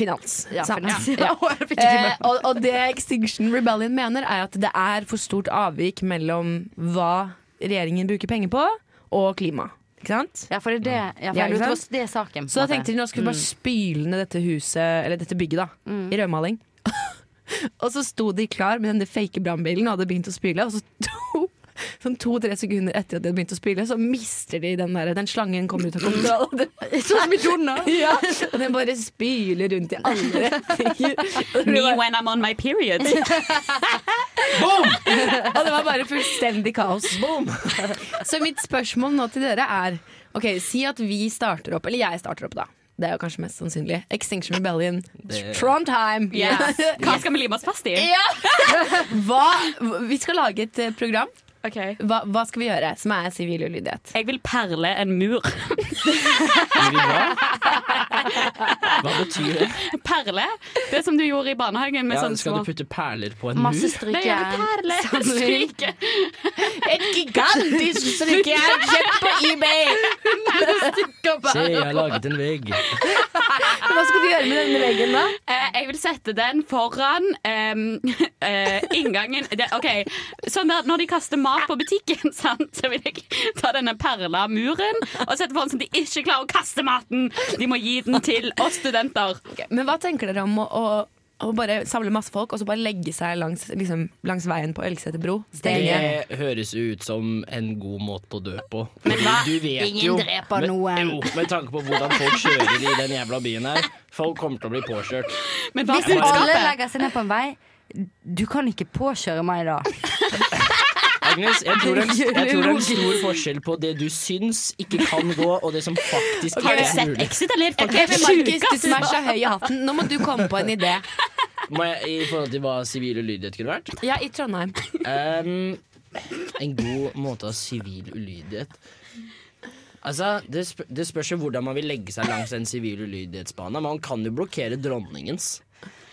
S8: finans.
S14: Ja,
S8: sant?
S14: finans.
S8: Ja.
S14: Ja, jeg fikk ikke
S8: Eh,
S14: med meg.
S8: og, og det Extinction Rebellion mener, er at det er for stort avvik mellom hva regjeringen bruker penger på, og klima. Ikke sant?
S11: Ja, for det er det, ja, for jeg lurte på s- det er saken, på en
S8: Så da
S11: måte.
S8: tenkte de nå skal vi bare
S11: Mm.
S8: spyle ned dette huset, eller dette bygget, da, i rødmaling. Og så sto de klar med denne fake brannbilen og hadde begynt å spyle. Og så to, sånn to-tre sekunder etter at de hadde begynt å spyle, så mister de den der Den slangen kommer ut av kontroll. og den-
S11: Sånn som i Donald.
S8: Ja, og den bare spyler rundt i alle retninger.
S10: Me when I'm on my period.
S8: Boom! og det var bare fullstendig kaos. så mitt spørsmål nå til dere er Ok, Si at vi starter opp, eller jeg starter opp, da. Det er jo kanskje mest sannsynlig. Extinction Rebellion.
S10: Det-
S8: Trondheim!
S10: Yes. Hva skal vi lime oss fast i?
S8: Ja. Hva, vi skal lage et eh, program. Hva, hva skal vi gjøre som er sivil ulydighet?
S10: Jeg vil perle en mur.
S3: Hva betyr det?
S10: Perle? Det som du gjorde i barnehagen med
S3: Ja,
S10: sånn
S3: skal
S10: små
S3: du putte perler på en mur?
S10: Nei, jeg vil perle.
S14: Samling.
S10: Stryke.
S8: Et gigantisk
S14: strikkejern kjøpt på eBay.
S3: Se, jeg har laget en vegg.
S8: Hva skal du gjøre med denne veggen, da?
S10: Eh, jeg vil sette den foran em, eh, inngangen det, OK. Sånn der, når de kaster mat på butikken, sant, så vil jeg ta denne perla muren og sette foran sånn at de ikke klarer å kaste maten. De må gi den til oss studenter.
S8: Men hva tenker dere om å, å, å bare samle masse folk og så bare legge seg langs, liksom, langs veien på Elgeseter bro?
S11: eh,
S8: Stenge.
S3: Det høres jo ut som en god måte å dø på. Men hva? Du vet
S11: Ingen
S3: jo,
S11: dreper
S3: men,
S11: noen.
S3: Jo, med tanke på hvordan folk kjører i den jævla byen her. Folk kommer til å bli påkjørt.
S11: Hvis alle legger seg ned på en vei Du kan ikke påkjøre meg da.
S3: Agnes, jeg tror, det, er- jeg tror det er en
S11: Logisk.
S3: stor forskjell på det du syns ikke kan gå, og det som faktisk
S10: Har du
S3: er
S10: sett
S3: mulig.
S10: Exit, eller? Folk
S8: Ok,
S10: er
S8: men Markus,
S10: sjuke,
S8: du som er så høy i hatten, nå må du komme på en idé.
S3: Må jeg, I forhold til hva sivil ulydighet kunne vært?
S8: Ja, i Trondheim.
S3: Ehm, en god måte av sivil ulydighet Altså, det, sp det spørs jo hvordan man vil legge seg langs en sivil ulydighetsbane. Man kan jo blokkere dronningens.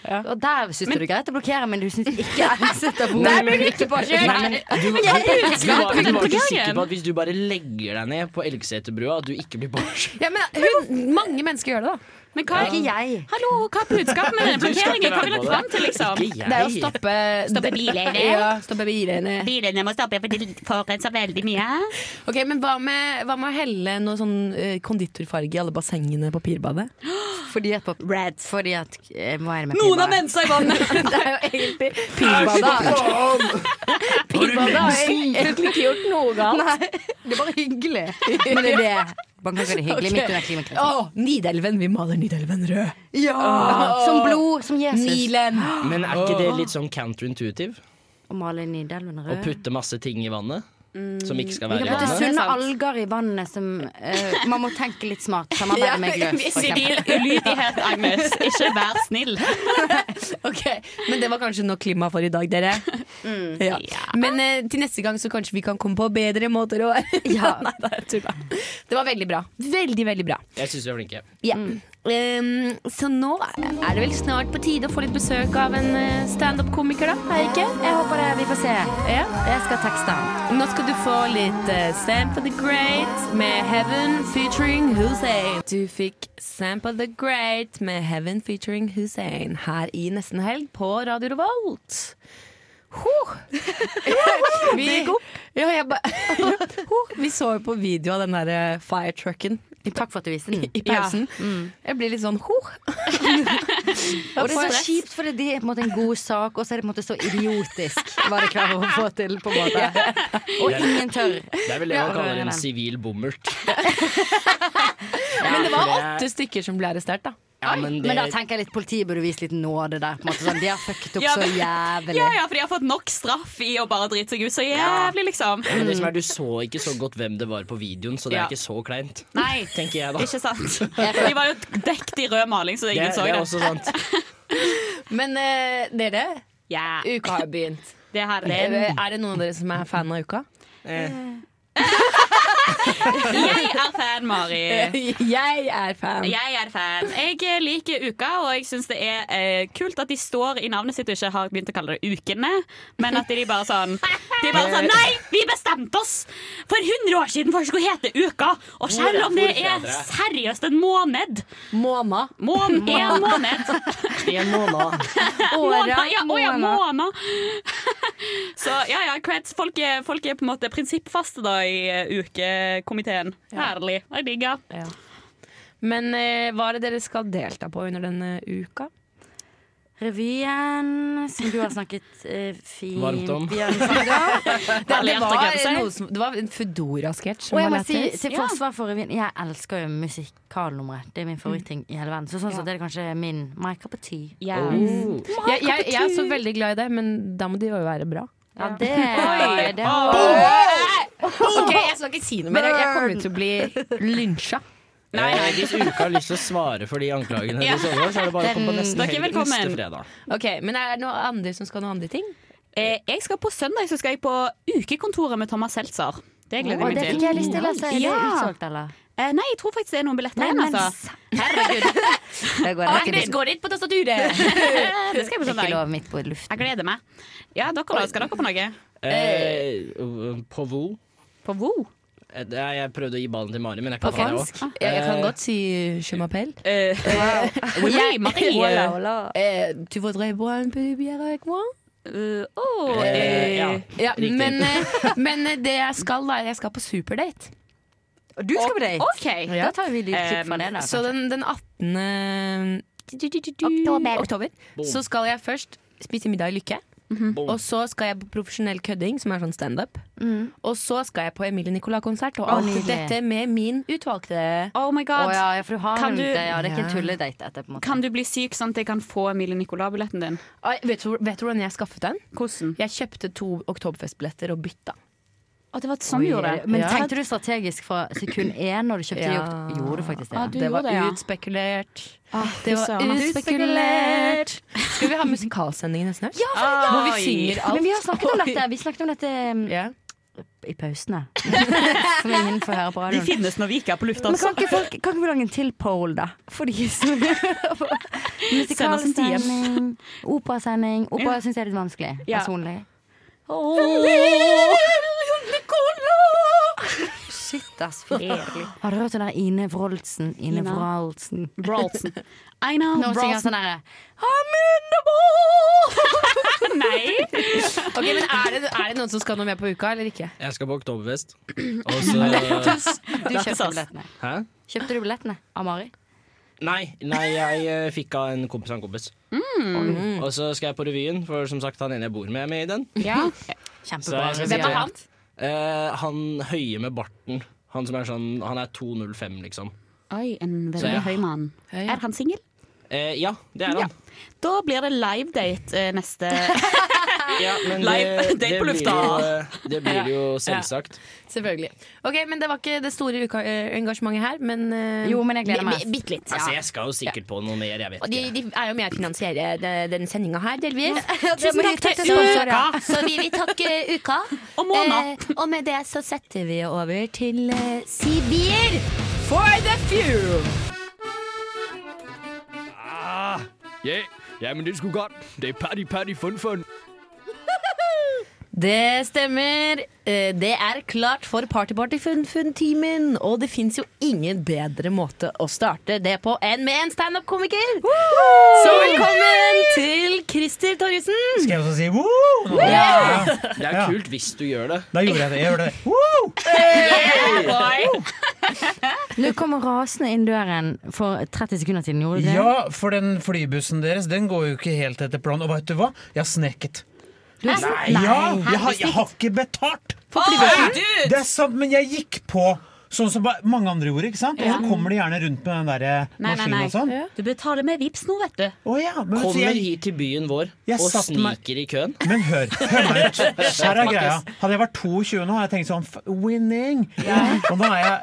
S11: Og der syns du det er greit å blokkere, men du syns ikke Exit er
S3: Nei, men-
S11: bordet mitt. Ikke påkjørt.
S3: Nei, men Du, du, du, var- du var ikke sikker på at hvis du bare legger deg ned på Elgseterbrua, at du ikke blir påkjørt.
S8: Ja, men hun, mange mennesker gjør det, da.
S10: Men hva
S3: Ikke
S11: jeg.
S10: Hallo, hva er budskapet med den
S3: Du skal ikke
S10: blokkeringen? Hva
S3: være
S10: vil
S3: med
S10: dere
S3: på
S10: fram
S3: det.
S10: til, liksom?
S3: Ikke jeg.
S8: Det er å stoppe
S10: Stoppe bilene.
S8: Ja, stoppe bilene.
S10: Bilene må stoppe, for de forurenser veldig mye.
S8: Ok, Men hva med, hva med å helle noe sånn eh, konditorfarge i alle bassengene på Pirbadet?
S11: Fordi at, fordi at eh, Hva er det med
S8: Noen
S11: pinnbadet?
S8: har ment seg i vannet! det er jo egentlig Pirbadet har- Pirbadet har egentlig ikke gjort noe galt.
S11: Det er bare hyggelig. Men det er det. Bangkok er det hyggelig midt under klimakrisen.
S8: Å, Nidelven. Vi maler Nidelven rød.
S11: Åh, Som blod, som Jesus.
S8: Nilen.
S3: Men er ikke det litt sånn counterintuitive?
S11: Å male Nidelven
S3: Å
S11: rød.
S3: putte masse ting i vannet som ikke skal
S11: Vi
S3: være
S11: kan
S3: i
S11: putte
S3: vannet?
S11: sunne alger i vannet som eh, Man må tenke litt smart. Samarbeide med gløs, for
S10: Sivil
S11: eksempel.
S10: ulydighet, Agnes. Ikke vær snill.
S8: Ok, Men det var kanskje nok klima for i dag, dere. Mm, Ja. Men eh, til neste gang så kanskje vi kan komme på bedre måter å
S11: Ja.
S8: Nei, da, jeg tulla. Det var veldig bra. Veldig, veldig bra.
S3: Jeg syns vi er flinke.
S8: Ja. Ehm, så nå er det vel snart på tide å få litt besøk av en eh, standup-komiker, da. Er det ikke? Jeg håper det. Vi får se. Ja. Jeg skal tekste han. Nå skal du få litt eh, Sample the Great med Heaven featuring Hussein. Du fikk Sample the Great med Heaven featuring Hussein her i Nesten Helg på Radio Revolt. Huh. vi, ja, jeg ba, huh. vi så jo på video av den der eh, firetrucken. Takk for at du viste den. I pausen. Jeg blir litt sånn huh.
S11: Og det er så kjipt, for det er på en måte en god sak, og så er det på en måte så idiotisk hva de klarer å få til. på en måte Og ingen tør.
S3: Det er vel det
S11: Ja.
S3: man kaller en sivil bommert.
S8: Men det
S3: for
S8: var
S3: det er-
S8: åtte stykker som ble arrestert, da.
S3: Ja,
S11: men,
S3: men det-
S11: da tenker jeg litt Politiet burde vise litt nåde der. På en måte. Sånn, de har fucket opp
S10: Ja,
S11: så
S10: men-
S11: jævlig.
S10: Ja, ja, for de har fått nok straff i å bare drite seg ut så jævlig, liksom.
S3: Ja, men det som er, Du så ikke så godt hvem det var på videoen, så det
S10: Ja.
S3: er ikke så kleint.
S10: Nei,
S3: tenker jeg da.
S10: ikke sant. De var jo dekt i rød maling, så
S3: Det,
S10: ingen så
S3: det
S10: det.
S3: er også sant.
S8: Men eh, dere, uka har begynt. er, det, er det noen av dere som er fan av uka?
S10: Jeg er fan, Mari.
S8: Jeg er fan.
S10: Jeg er fan. Jeg liker uka, og jeg syns det er eh, kult at de står i navnet sitt og ikke har begynt å kalle det Ukene, men at de bare sånn De bare sånn Nei, vi bestemte oss for 100 år siden for at det skulle hete Uka! Og selv om det er seriøst en måned
S8: Måna.
S10: Mån, en måned.
S3: En måned.
S10: Måna, ja, å ja, måna. Så ja, ja, creds. Folk er, folk er på en måte prinsippfaste da i eh, ukekomiteen. Herlig. Jeg digger.
S8: Men eh, hva er det dere skal delta på under denne uka?
S14: Revyen som du har snakket eh, fint
S8: Varmt om.
S14: Vi har snakket om.
S8: Det, det,
S14: Herlighet å glede
S8: var,
S14: seg.
S8: noe som, det var en Foodora-sketsj. som
S11: Og jeg
S8: var
S11: må si
S8: lættis.
S11: til
S8: Ja.
S11: forsvar for revyen Jeg elsker jo musikalnummeret. Det er min favoritting i hele verden. Så sånn
S8: Ja.
S11: sett er det kanskje min My cup of tea.
S8: Ja.
S3: Oh.
S8: Mm. Jeg, jeg, jeg er så veldig glad i det, men da må det jo være bra.
S11: Ja, det,
S8: Oi,
S11: det
S8: Ok, jeg skal ikke si noe mer. Jeg kommer til å bli lynsja.
S3: Eh, Hvis Uka har lyst til å svare for de anklagene
S8: Ja.
S3: de sover, så er det bare å komme på
S8: Den-
S3: neste,
S8: Dere er
S3: helg,
S8: velkommen.
S3: neste fredag.
S8: Ok, Men er det noen andre som skal noen andre ting?
S10: Eh, jeg skal på søndag så skal jeg på ukekontoret med Thomas Seltzer. Det
S11: Å,
S10: gleder jeg meg
S11: det
S10: til.
S11: fikk jeg lyst til, altså. Er det
S10: Ja.
S11: utsolgt, eller?
S10: Eh, nei, jeg tror faktisk det er noen billetter igjen. Altså.
S11: Det går rett inn.
S10: Ah, går dit på tastaturet! det skal jeg på
S11: Det er ikke
S10: søndag.
S11: lov midt på luften.
S10: Jeg gleder meg. Ja, dere da? Skal dere på noe?
S3: Eh, på Vo
S10: På Vo?
S3: Eh, det er- Jeg prøvde å gi ballen til Mari, men jeg
S8: På
S3: kan ikke det
S8: fransk?
S3: også.
S8: Jeg, jeg kan
S3: Eh,
S8: godt si je m'appelle.
S10: Oui,
S8: Jeg-
S10: Eh, Marie.
S8: Voilà, voilà. Eh, tu voudrais boire un peu de bière avec moi?
S10: oh,
S3: eh, ja,
S8: ja,
S3: riktig.
S8: men, eh, men eh, det jeg skal, da, jeg skal på superdate.
S11: Du skal på date?
S10: OK,
S11: Da
S8: Ja.
S11: tar vi litt klipp fra det, da.
S8: Ehm, Så
S11: kanskje.
S8: den, eh, den 18. Oktober.
S11: Boom.
S8: Så skal jeg først spise middag i Lykke.
S11: Mhm.
S8: Og så skal jeg på profesjonell kødding, som er sånn standup.
S11: Mm.
S8: Og så skal jeg på Emilie Nicolas-konsert, og
S11: Å,
S8: alt
S11: nydelig.
S8: dette med min utvalgte.
S10: Oh my
S11: Å
S10: god.
S11: ja, ja, for du har
S10: Kan
S11: nevnt
S10: du-
S11: det. Ja, det er ikke en
S8: Ja.
S11: tulledate etter, på en måte.
S10: Kan du bli syk sånn at jeg kan få Emilie Nicolas-billetten din?
S8: Ai, Vet du, vet du hvordan jeg skaffet den?
S10: Hvordan?
S8: Jeg kjøpte to Oktoberfest-billetter og bytta.
S10: Å, det var sånn du gjorde det.
S11: Men tenkte du strategisk fra sekund én når du kjøpte
S8: Ja.
S11: jakt? Gjorde du faktisk det?
S8: Ah,
S11: ja.
S8: du Det var gjorde det, ja. utspekulert.
S11: det
S8: Det var utspekulert. Skal vi ha musikalsending nesten høst?
S11: ja.
S8: Hvor vi synger alt.
S11: Men vi har snakket om dette. Vi snakket om dette um, i pausene. Som ingen får høre på
S10: De
S11: radioen.
S10: finnes når vi ikke er på lufta,
S11: Men kan
S10: altså.
S11: ikke, folk, kan ikke vi lage en til poll, da? For de som
S10: Send oss en DM.
S11: Musikalsending, operasending. Opera syns jeg er litt vanskelig,
S10: Ja.
S11: personlig. Shit, ass. fy.
S10: Fredelig.
S11: Har du hørt den der Ine Wroldsen? Ine
S10: Ina.
S11: Wroldsen.
S10: Brolsen. I know,
S11: Nå synger jeg
S10: Brolsen.
S11: sånn derre
S10: Nei.
S8: Ok, men er det, er det noen som skal noe med på uka, eller ikke?
S3: Jeg skal på Oktoberfest. Og så
S11: Du kjøpte billettene.
S3: Hæ?
S11: Kjøpte du billettene av Mari?
S3: Nei, nei, jeg eh, fikk av en kompis av en kompis. Og så skal jeg på revyen, for som sagt, han ene jeg bor med, er med i den.
S10: Ja.
S3: Så
S11: Kjempebra.
S3: jeg skal
S11: Hvem
S3: se-
S11: er han?
S3: Eh, han høye med barten. Han som er sånn Han er 205, liksom.
S10: Oi, en
S3: Så
S10: veldig
S3: ja.
S10: høy mann. Er han singel?
S3: Eh, ja, det er han.
S10: Da blir det livedate eh, neste
S3: Ja, men
S10: Live
S3: det,
S10: date
S3: det
S10: på
S3: blir
S10: lufta.
S3: jo, eh, det blir jo selvsagt.
S8: Selvfølgelig. Ok, men Det var ikke det store uka eh, engasjementet her, men eh,
S11: Jo, men jeg gleder meg.
S8: bi- Bitte litt.
S3: Altså, jeg skal jo sikkert på noe mer, jeg vet
S8: Og de,
S3: ikke.
S8: de er jo med å finansiere de- denne sendinga her, delvis.
S11: Tusen takk til Uka. Så vi vil takke Uka.
S10: Og måned.
S11: Eh, og med det så setter vi over til eh, Sibir.
S8: For the few!
S16: Ah, ja, ja, men det skulle godt. Det er party, party, fun, fun.
S8: Det stemmer. Eh, Det er klart for Party-party-fun-fun-timen. Og det fins jo ingen bedre måte å starte det på enn med en standup-komiker. Så velkommen til Christer Torjussen.
S17: Skal jeg også si woo?
S8: Ja.
S3: Det er
S17: Ja.
S3: kult hvis du gjør det.
S17: Da gjorde jeg det. Jeg gjorde det.
S11: Du kommer rasende inn døren for 30 sekunder siden, gjorde du det?
S17: Ja, for den flybussen deres Den går jo ikke helt etter planen. Og vet du hva? Jeg har sneket.
S11: Du har sn-
S17: Ja,
S11: Nei.
S17: jeg har, jeg har ikke betalt!
S11: For flybussen?
S17: Det er sant, men jeg gikk på Sånn som ba- mange andre gjorde, ikke sant? Og
S10: Ja.
S17: så kommer de gjerne rundt med den der
S10: Nei, nei,
S17: maskinen
S10: nei.
S17: og sånn.
S10: Du betaler med vips nå, vet du.
S17: men vet du,
S3: Kommer
S17: jeg-
S3: hit til byen vår
S17: Jeg
S3: og
S17: satt meg-
S3: sniker i køen.
S17: Men hør, hør meg ut. Her er greia. Hadde jeg vært 22 nå, hadde jeg tenkt sånn f- winning. Og nå er jeg,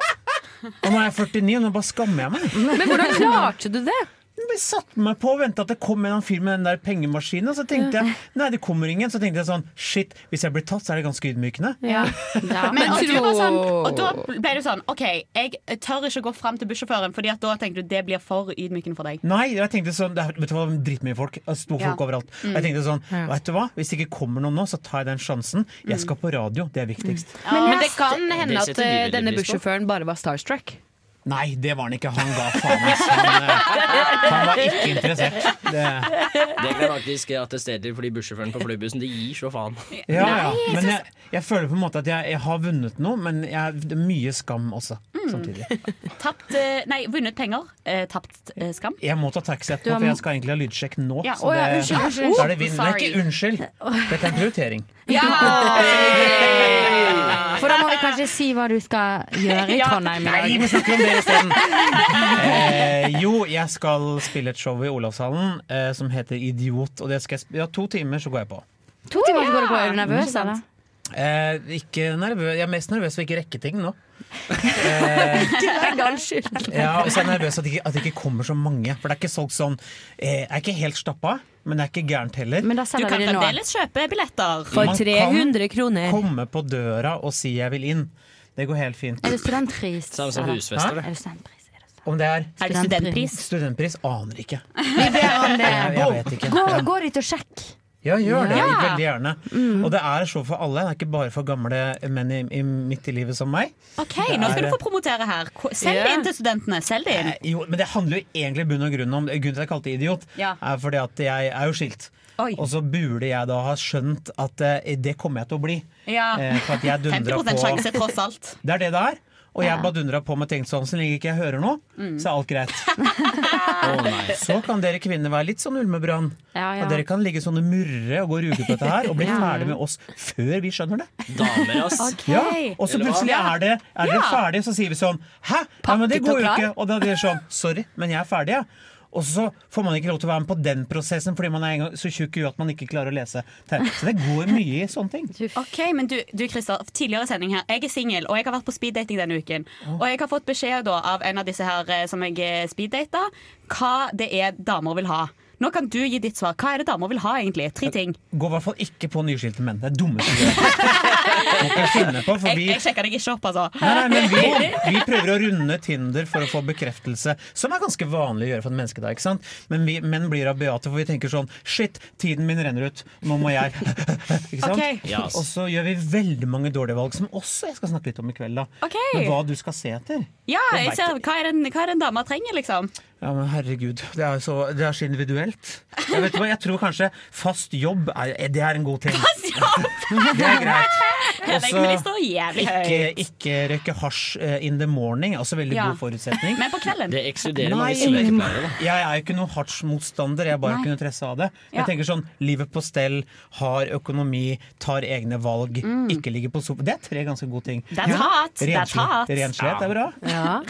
S17: og nå er jeg 49, og nå bare skammer jeg meg.
S14: Men hvordan klarte
S17: du det? Jeg satte meg på og venta at det kom en eller annen fyr med den der pengemaskinen. Og så tenkte jeg nei, det kommer ingen. Så tenkte jeg sånn shit, hvis jeg blir tatt, så er det ganske ydmykende.
S10: Men, og, du var sånn, og da ble du sånn OK, jeg tør ikke å gå fram til bussjåføren, Fordi at da tenker du det blir for ydmykende for deg.
S17: Nei, jeg tenkte sånn det er, Vet du hva, dritmye folk. Det Sto folk
S10: Ja.
S17: overalt. Og
S10: Mm.
S17: Jeg tenkte sånn, vet du hva, hvis det ikke kommer noen nå, så tar jeg den sjansen. Jeg
S10: Mm.
S17: skal på radio, det er viktigst.
S8: Men, det kan hende
S17: Det
S8: at
S17: setter vi
S8: eh,
S17: veldig
S8: denne
S17: pris på.
S8: bussjåføren bare var starstruck.
S17: Nei, det var han ikke. Han ga faen meg sånn. Han var ikke interessert. Det,
S3: Det kan jeg faktisk attestere til, fordi bussjåføren på flybussen de gir så faen.
S17: ja, ja. Men jeg, jeg føler på en måte at jeg, jeg har vunnet noe, men jeg, det er mye skam også.
S10: Mm.
S17: Samtidig.
S10: Tapt eh, Nei, vunnet penger. Eh, tapt eh, skam.
S17: Jeg må ta taxi
S10: Du
S17: etterpå,
S10: har-
S17: for jeg skal egentlig ha lydsjekk nå.
S10: Ja,
S17: Så
S10: å ja,
S17: det,
S10: unnskyld, unnskyld.
S17: Da er det vinn. Nei,
S10: Sorry.
S17: ikke unnskyld. Dette er en prioritering.
S11: For da må vi kanskje si hva du skal gjøre i
S14: Ja.
S11: Trondheim i dag.
S14: Nei, vi snakker om det
S17: Eh, jo, jeg skal spille et show i Olavshallen eh, som heter Idiot. Og det skal jeg sp ja, to timer, så går jeg på.
S11: To timer så går det på. Er du nervøs, eller?
S17: Eh, ikke nervø Jeg er mest nervøs for ikke å rekke ting nå. Ja, og så er jeg nervøs at det ikke, at det ikke kommer så mange. For det er ikke solgt sånn eh, Jeg er ikke helt stappa, men det er ikke gærent heller. Men da
S10: Du kan fremdeles kjøpe billetter.
S17: kroner. Man kan komme på døra og si 'jeg vil inn'. Det går helt fint.
S11: Er det studentpris?
S17: Samme som
S11: eller?
S17: husfester,
S11: Hæ?
S17: det.
S11: Er det studentpris?
S17: Om det er
S11: Er det studentpris?
S17: Studentpris? Aner ikke.
S11: Vi ber om det.
S17: Jeg, jeg vet ikke.
S11: Gå,
S17: Ja.
S11: gå dit og sjekk.
S17: Ja, gjør det.
S11: Ja. Mm.
S17: Veldig gjerne. Og det er show for alle. Det er ikke bare for gamle menn i, i midt i livet som meg.
S10: OK, nå skal du få promotere her. Ko- Selg det inn til studentene. Selg det inn.
S17: Eh, Jo, men det handler jo egentlig i bunn og grunn om Grunnen til at jeg kalte det idiot,
S10: Ja.
S17: er fordi at jeg er jo skilt.
S10: Oi.
S17: Og så burde jeg da ha skjønt at eh, det kommer jeg til å bli.
S10: Ja.
S17: Eh, for at jeg dundra
S10: 50
S17: på
S10: sjanse, tross alt.
S17: Det er det det er. Og jeg
S10: Ja.
S17: bare dundra på med tenkt sånn, så lenge ikke jeg hører noe,
S10: Mm.
S17: så er alt greit. Å nei. Så kan dere kvinner være litt sånn ulmebrann.
S11: Ja, ja.
S17: Og dere kan ligge sånne murre og gå og ruge på dette her, og bli
S11: Ja.
S17: ferdig med oss før vi skjønner det.
S3: Damer, ass. Ok.
S17: Ja. Og så
S3: Eller hva?
S17: plutselig er det, er det
S3: Ja.
S17: ferdig, så sier vi sånn Hæ? Ja, men det
S3: Pakket og
S17: går jo
S3: klar.
S17: ikke. Og da er det sånn Sorry, men jeg er ferdig, jeg. Og så får man ikke lov til å være med på den prosessen fordi man er en gang så tjukk i huet at man ikke klarer å lese. Så det går mye i sånne ting.
S10: Ok, men du, du Christer, tidligere sending her Jeg er singel, og jeg har vært på speeddating denne uken Og jeg har fått beskjed da av en av disse her eh, Som jeg eh, speeddata Hva det er damer vil ha Nå kan du gi ditt svar, hva er det damer vil ha egentlig? Tre ting
S17: Gå i hvert fall ikke på nyskilte menn. Det er dummeste du gjør. Må ikke finne på, for
S10: Jeg,
S17: vi
S10: jeg sjekker deg ikke opp, altså
S17: Nei, nei, men vi, vi prøver å runde Tinder for å få bekreftelse, som er ganske vanlig å gjøre for et menneske. da, ikke sant? Men vi menn blir rabiate, for vi tenker sånn Shit, tiden min renner ut. Nå må jeg Ikke sant?
S10: Ok. Ja, ass.
S17: Og så gjør vi veldig mange dårlige valg, som også jeg skal snakke litt om i kveld. da.
S10: Ok.
S17: Men hva du skal se etter.
S10: Ja,
S17: Det
S10: jeg
S17: vet
S10: ser, hva er det en- hva er det en dame trenger liksom?
S17: Ja, men herregud, det er, så, det er så individuelt. Jeg, vet hva, jeg tror kanskje fast jobb er, eh, det er en god ting. Fast jobb! Det er greit. Altså,
S10: Veggene står sånn jævlig høyt.
S17: ikke, ikke røyke hasj eh, in the morning, altså veldig
S10: Ja.
S17: god forutsetning.
S10: Men på kvelden
S3: Det ekskluderer
S17: Nei,
S3: mange sykepleiere. da.
S17: jeg er jo ikke noen hasjmotstander, jeg bare
S3: Nei.
S17: kunne tresse av det. Jeg
S3: Ja.
S17: tenker sånn, livet på stell, har økonomi, tar egne valg, ikke ligger på sofa. Det er tre ganske gode ting.
S10: Mm. That's hot, that's
S17: Renslighet-
S10: hot.
S17: Renslighet er bra.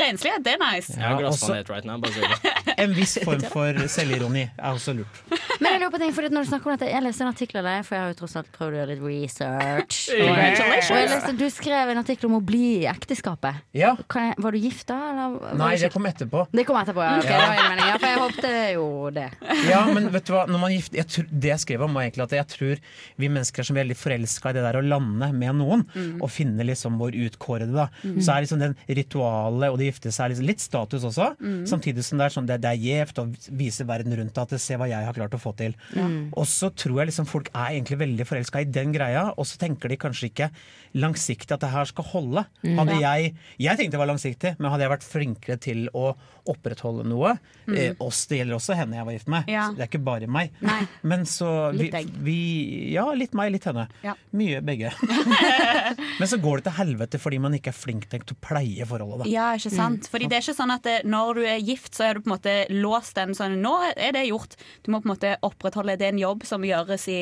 S10: Renslighet, det er nice
S3: Jeg har
S17: Ja, også-
S3: glassfanet right now. Bare så det.
S17: En viss form for selvironi er også lurt.
S11: Men jeg lurer på ting, fordi at når du snakker om dette Jeg leste en artikkel av deg, for jeg har jo tross alt prøvd å gjøre litt research.
S17: Congratulations.
S11: Og jeg leste, du skrev en artikkel om å bli i ekteskapet.
S17: Ja.
S11: Kan jeg, var du gift da? Eller var
S17: Nei,
S11: du
S17: det
S11: ikke-
S17: kom etterpå.
S11: det kom etterpå, ja. ok,
S17: Ja.
S11: det var en mening, ja. For jeg håpte jo det.
S17: Ja, men vet du hva, når man gifter, jeg tror, Det jeg skrev om, var egentlig at jeg tror vi mennesker er så veldig forelska i det der å lande med noen,
S11: Mm.
S17: og finne liksom vår utkårede. da.
S11: Mm.
S17: Så er liksom den ritualet og det å gifte seg er liksom litt status også,
S11: Mm.
S17: samtidig som det er sånn det, det er gjevt å vise verden rundt at se hva jeg har klart å få til.
S11: Mm.
S17: Og så tror jeg liksom folk er egentlig veldig forelska i den greia, og så tenker de kanskje ikke langsiktig at det her skal holde.
S11: Mm.
S17: Hadde
S11: Ja.
S17: jeg, jeg tenkte det var langsiktig, men hadde jeg vært flinkere til å opprettholde noe
S11: Mm.
S17: eh, Oss, det gjelder også henne jeg var gift med,
S11: Ja.
S17: så det er ikke bare meg. Men så vi,
S11: Litt deg.
S17: vi, Ja, litt meg, litt henne.
S11: Ja.
S17: Mye begge. men så går det til helvete fordi man ikke er flink til å pleie forholdet, da.
S10: Ja, ikke sant? Fordi det er ikke sånn at eh, når du er gift, så er du på en måte låst den sånn Nå er det gjort. Du må på en måte opprettholde Det er en jobb som gjøres i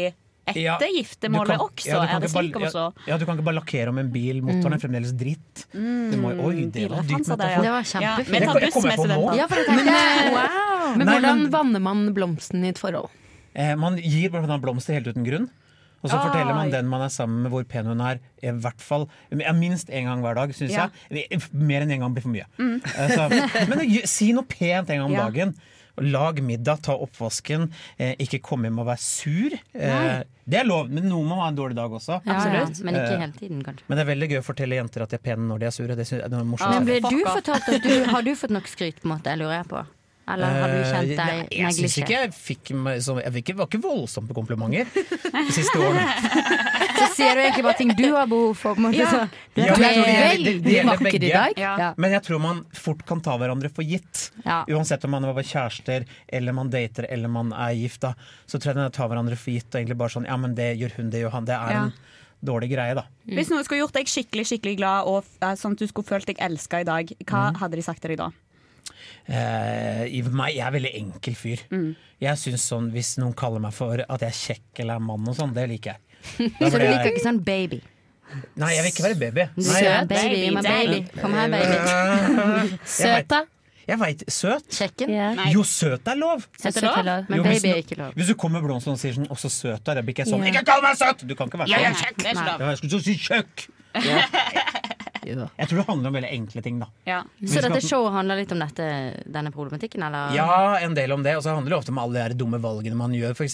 S10: etter
S17: Ja,
S10: giftermålet
S17: du kan-
S10: også?
S17: ja, du kan
S10: er det
S17: ikke bare-
S10: slik å forstå?
S17: Ja, ja, du kan ikke bare lakkere om en bil. Motoren er fremdeles dritt. Du må, oi, det var dypt.
S10: bilreferanse der,
S17: metafor.
S10: ja. Det var kjempefint. Ja, men
S17: Det
S10: ta
S17: kom-
S10: buss
S17: kom jeg
S10: med
S17: på nå.
S10: studentene.
S8: Ja, for jeg
S11: eh,
S8: tenkte,
S10: Men,
S8: wow. men
S17: Nei,
S8: hvordan
S17: men-
S8: vanner man blomsten i et forhold?
S17: Eh, Man gir blant annet blomster helt uten grunn. Og så
S8: Oi.
S17: forteller man den man er sammen med hvor pen hun er, i hvert fall ja, minst én gang hver dag, syns
S8: Ja.
S17: jeg. Eh, Mer enn én gang blir for mye.
S8: Mm.
S17: Eh, Så, men gi- si noe pent en gang om
S8: Ja.
S17: dagen. Lag middag, ta oppvasken. Eh, ikke komme hjem og være sur. Eh,
S11: Nei.
S17: det er lov, men noen må ha en dårlig dag også.
S11: Ja, Absolutt. ja, men ikke
S17: Eh,
S11: hele tiden, kanskje.
S17: Men det er veldig gøy å fortelle jenter at de er pene når de er sure. Det synes jeg det er morsomt.
S11: Ah, Men ble du fortalt at du, har du fått nok skryt, på en måte, lurer jeg på? Eller har du kjent
S17: Eh,
S11: deg
S17: Nei, jeg syns
S11: neglisjert?
S17: ikke jeg fikk meg så, Jeg fikk, var ikke voldsomt på komplimenter de siste årene.
S11: Så sier du egentlig bare ting du har behov for. På en måte,
S17: Ja.
S11: sånn. Du
S17: Ja, men jeg tror
S11: er
S17: det gjelder- det- det
S11: veldig
S17: gjelder
S11: vakker i
S17: begge.
S11: dag. Ja.
S17: Men jeg tror man fort kan ta hverandre for gitt.
S11: Ja.
S17: Uansett om man er kjærester, eller man dater, eller man er gift, da, så tror jeg man tar hverandre for gitt. Og egentlig bare sånn Ja, men det gjør hun, det gjør han. Det er
S10: Ja.
S17: en dårlig greie, da.
S10: Hvis noen skulle gjort deg skikkelig skikkelig glad, og f- eh, sånn at du skulle følt deg elska i dag, hva
S17: Mm.
S10: hadde de sagt til deg da?
S17: Eh, i meg, jeg er veldig enkel fyr.
S11: Mm.
S17: Jeg synes sånn, Hvis noen kaller meg for at jeg er kjekk eller er mann og sånn, det liker jeg. Da
S11: Så du
S17: blir jeg-
S11: liker ikke sånn baby?
S17: Nei, jeg vil ikke være baby.
S11: Du
S17: Nei,
S11: sier
S17: jeg-
S11: baby, Baby, men baby. baby. Kom her, baby.
S17: Jeg
S11: Søt,
S17: vet- Jeg veit. Søt?
S11: Kjekken?
S17: Jo, søt er lov!
S11: Søt er lov, Søt er lov, men
S17: Jo, hvis
S11: baby er
S17: no-
S11: ikke lov.
S17: Hvis du kommer med blomster og sier sånn 'også søt', er det blir ikke jeg sånn
S11: Ja.
S17: 'ikke kall meg søt'! Du kan ikke være
S11: Jeg er
S17: sånn.
S11: kjekk, det er ikke lov.
S17: Ja, jeg skulle til å si kjøkk!
S11: Ja.
S17: Jeg tror det handler om veldig enkle ting, da.
S11: Så dette showet handler litt om dette, denne problematikken, eller?
S17: Ja, en del om det. Og så handler det ofte om alle de her dumme valgene man gjør. F.eks.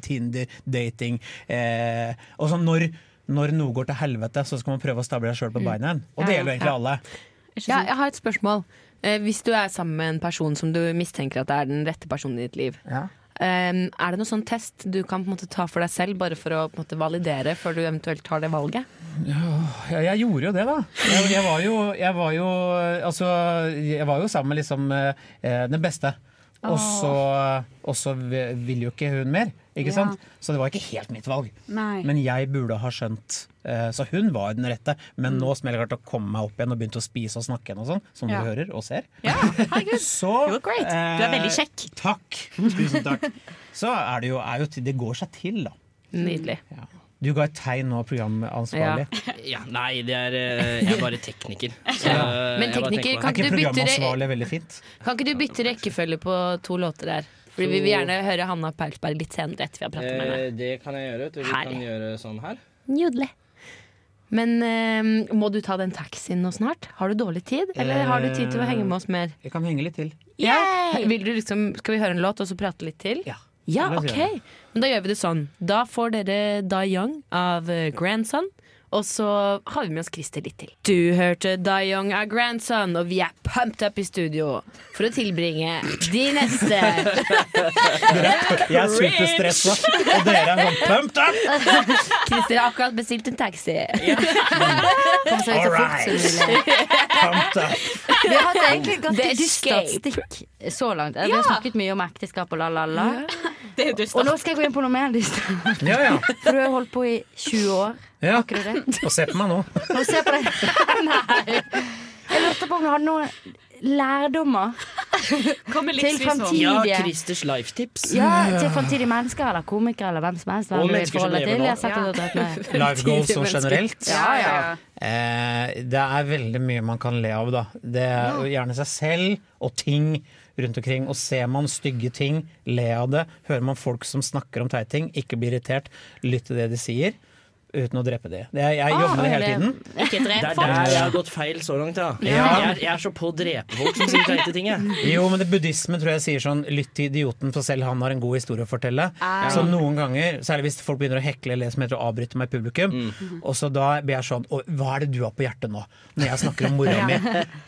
S17: Tinder, dating. Eh, og så når, når noe går til helvete, så skal man prøve å stable seg sjøl på beina igjen. Og det
S8: Ja, ja.
S17: gjelder egentlig
S8: Ja.
S17: alle.
S8: Ja, jeg har et spørsmål. Eh, Hvis du er sammen med en person som du mistenker at er den rette personen i ditt liv, eh, er det noen sånn test du kan på en måte ta for deg selv, bare for å på en måte validere før du eventuelt tar det valget?
S17: Ja, jeg gjorde jo det, da. Jeg, jeg, var, jo, jeg var jo Altså, jeg var jo sammen med liksom eh, den beste. Og så, og så vi- ville jo ikke hun mer, ikke
S10: Ja.
S17: sant? Så det var ikke helt mitt valg.
S10: Nei.
S17: Men jeg burde ha skjønt eh, Så hun var den rette, men nå som jeg klarte å komme meg opp igjen og begynte å spise og snakke igjen og sånn, som
S10: Mm. Ja.
S17: du hører og ser Så eh,
S10: great. Du er veldig kjekk.
S17: Takk. Tusen takk. Så er det jo, er jo til- Det går seg til, da.
S8: Nydelig.
S17: Du ga et tegn nå, programansvarlig.
S3: Ja, nei, det er eh, Jeg er bare tekniker. så,
S8: Ja.
S3: eh,
S8: Men
S3: jeg bare
S8: tekniker
S3: tenker på
S8: kan
S3: det.
S8: ikke du bytte det-
S17: Programansvarlig er veldig fint.
S8: Kan ikke du bytte rekkefølge på to låter der? Fordi Vi vil gjerne høre Hanna Paulsberg litt senere etter vi har pratet med henne.
S3: Eh, det kan jeg gjøre. vet du. Vi kan gjøre sånn her.
S8: Nydelig. Men eh, må du ta den taxien nå snart? Har du dårlig tid, eller har du tid til å henge med oss mer?
S17: Jeg kan henge litt til.
S8: Ja. Vil du liksom, skal vi høre en låt og så prate litt til?
S17: Ja.
S8: Ja,
S17: La oss
S8: ok.
S17: gjøre det.
S8: Men da gjør vi det sånn. Da får dere Da Young av eh, Grandson. Og så har vi med oss Christer litt til. Du hørte Da Young av Grandson, og vi er pumped up i studio for å tilbringe de neste
S17: Jeg er superstressa, og dere er sånn pumped up!
S8: Christer har akkurat bestilt en taxi. Kom
S11: seg ut så fort som mulig.
S17: Pumped up.
S11: Vi har hatt egentlig et ganske
S8: Det er
S11: dyst statistikk så langt. Vi
S8: Ja.
S11: har snakket mye om ekteskap og la-la-la.
S10: Det er
S11: Og nå skal jeg gå inn på noe mer dyst.
S17: Ja, ja.
S11: For du har holdt på i 20 år.
S17: ja.
S11: Har ikke du det?
S17: Og se på meg nå.
S11: Nå se på deg. Nei. Jeg lurte på om du hadde noen lærdommer
S10: Kom med
S11: til
S10: livsvisdom.
S11: fremtidige
S3: Ja, Christers lifetips.
S11: Ja, til fremtidige mennesker eller komikere eller hvem som helst. Hvem
S3: Og
S11: du vil
S3: mennesker som
S11: forholde deg
S3: lever
S11: til.
S3: nå.
S11: Jeg har sagt at du har dratt med.
S17: Live goals og
S11: Fremtidige
S17: generelt.
S11: mennesker. Ja, ja, ja.
S17: Eh, det er veldig mye man kan le av, da. Det er jo gjerne seg selv og ting rundt omkring. Og ser man stygge ting, le av det. Hører man folk som snakker om teite ting, ikke bli irritert. Lytt til det de sier, uten å drepe de. Det er, jeg jobber med det hele tiden.
S3: Ikke
S17: drep
S3: Det er
S17: folk.
S3: der jeg har gått feil så langt, ja.
S17: Ja.
S3: Jeg, er- jeg er så på å drepe folk som sier teite ting, jeg.
S17: Jo, men det buddhisme tror jeg sier sånn Lytt til idioten, for selv han har en god historie å fortelle.
S3: Ah.
S17: Så noen ganger, særlig hvis folk begynner å hekle eller det som heter å avbryte meg i publikum, og så da blir jeg sånn «Å, Hva er det du har på hjertet nå? Når jeg snakker om mora
S18: Ja.
S17: mi.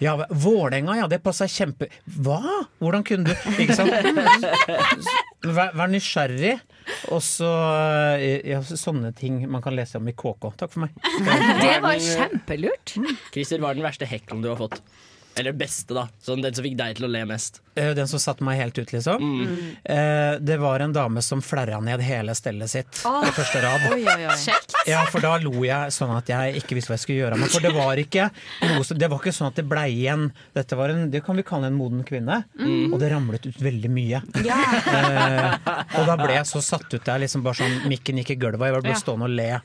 S17: Ja, Vålerenga, ja, det passa kjempe... Hva? Hvordan kunne du Ikke sant? Men Vær, vær nysgjerrig. Og så eh, ja, sånne ting man kan lese om i KK. Takk for meg.
S8: Det Mm. var kjempelurt.
S3: Christer, hva er den verste hekkelen du har fått? Eller beste, da. Sånn, den som fikk deg til å le mest.
S17: Eh, Den som satte meg helt ut, liksom.
S3: Mm.
S17: Eh, Det var en dame som flerra ned hele stellet sitt
S8: Åh.
S17: på første rad.
S8: Ah. Oi, oi, oi. Kjekt.
S17: Ja, for da lo jeg sånn at jeg ikke visste hva jeg skulle gjøre. av meg. For det var ikke noe som, det var ikke sånn at det blei igjen. Dette var en, det kan vi kalle en moden kvinne.
S8: Mm.
S17: Og det ramlet ut veldig mye. Eh, og da ble jeg så satt ut der, liksom bare sånn mikken gikk i gulvet, og jeg bare ble
S3: Ja.
S17: stående og le.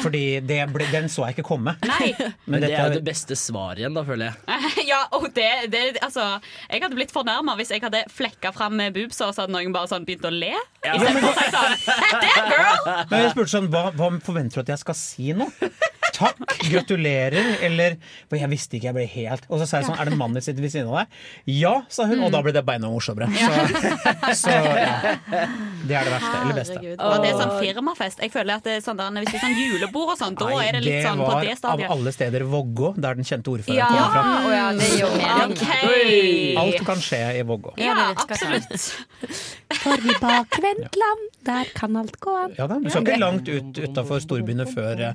S17: Fordi det ble, den så jeg ikke komme.
S3: Men det
S17: dette
S3: er
S17: er-
S3: jo det beste svaret igjen, da, føler jeg.
S10: ja, og det, det Altså, jeg hadde blitt fornærma hvis jeg hadde flekka fram med boobsa, og så hadde noen bare sånn begynt å le.
S17: Ja,
S10: I stedet
S17: men
S10: for å si sånn That girl!
S17: Men jeg spurte sånn, hva, hva forventer du at jeg skal si nå? Takk, gratulerer, eller For jeg visste ikke, jeg ble helt Og så sa jeg sånn, er det mannen din sitter ved siden av deg? Ja, sa hun, og da ble det beina morsommere. Så, så ja. Det er det verste, eller beste.
S10: Herregud. Var det sånn firmafest? Jeg føler at det er sånn der, Hvis det er sånn julebord og sånn, da
S17: Nei,
S10: er det litt sånn på
S17: var
S10: det
S17: av
S10: stadiet.
S17: alle steder Vågå, der den kjente ordføreren
S10: Ja,
S17: kommer fra.
S10: å ja, det gjør
S17: Så
S10: mening. Ok.
S17: Alt kan skje i Vågå.
S10: Ja, absolutt.
S11: altså.
S19: For i bakvendt land, der kan alt gå an.
S17: Ja da, Du skal ikke langt ut utafor storbyene før eh,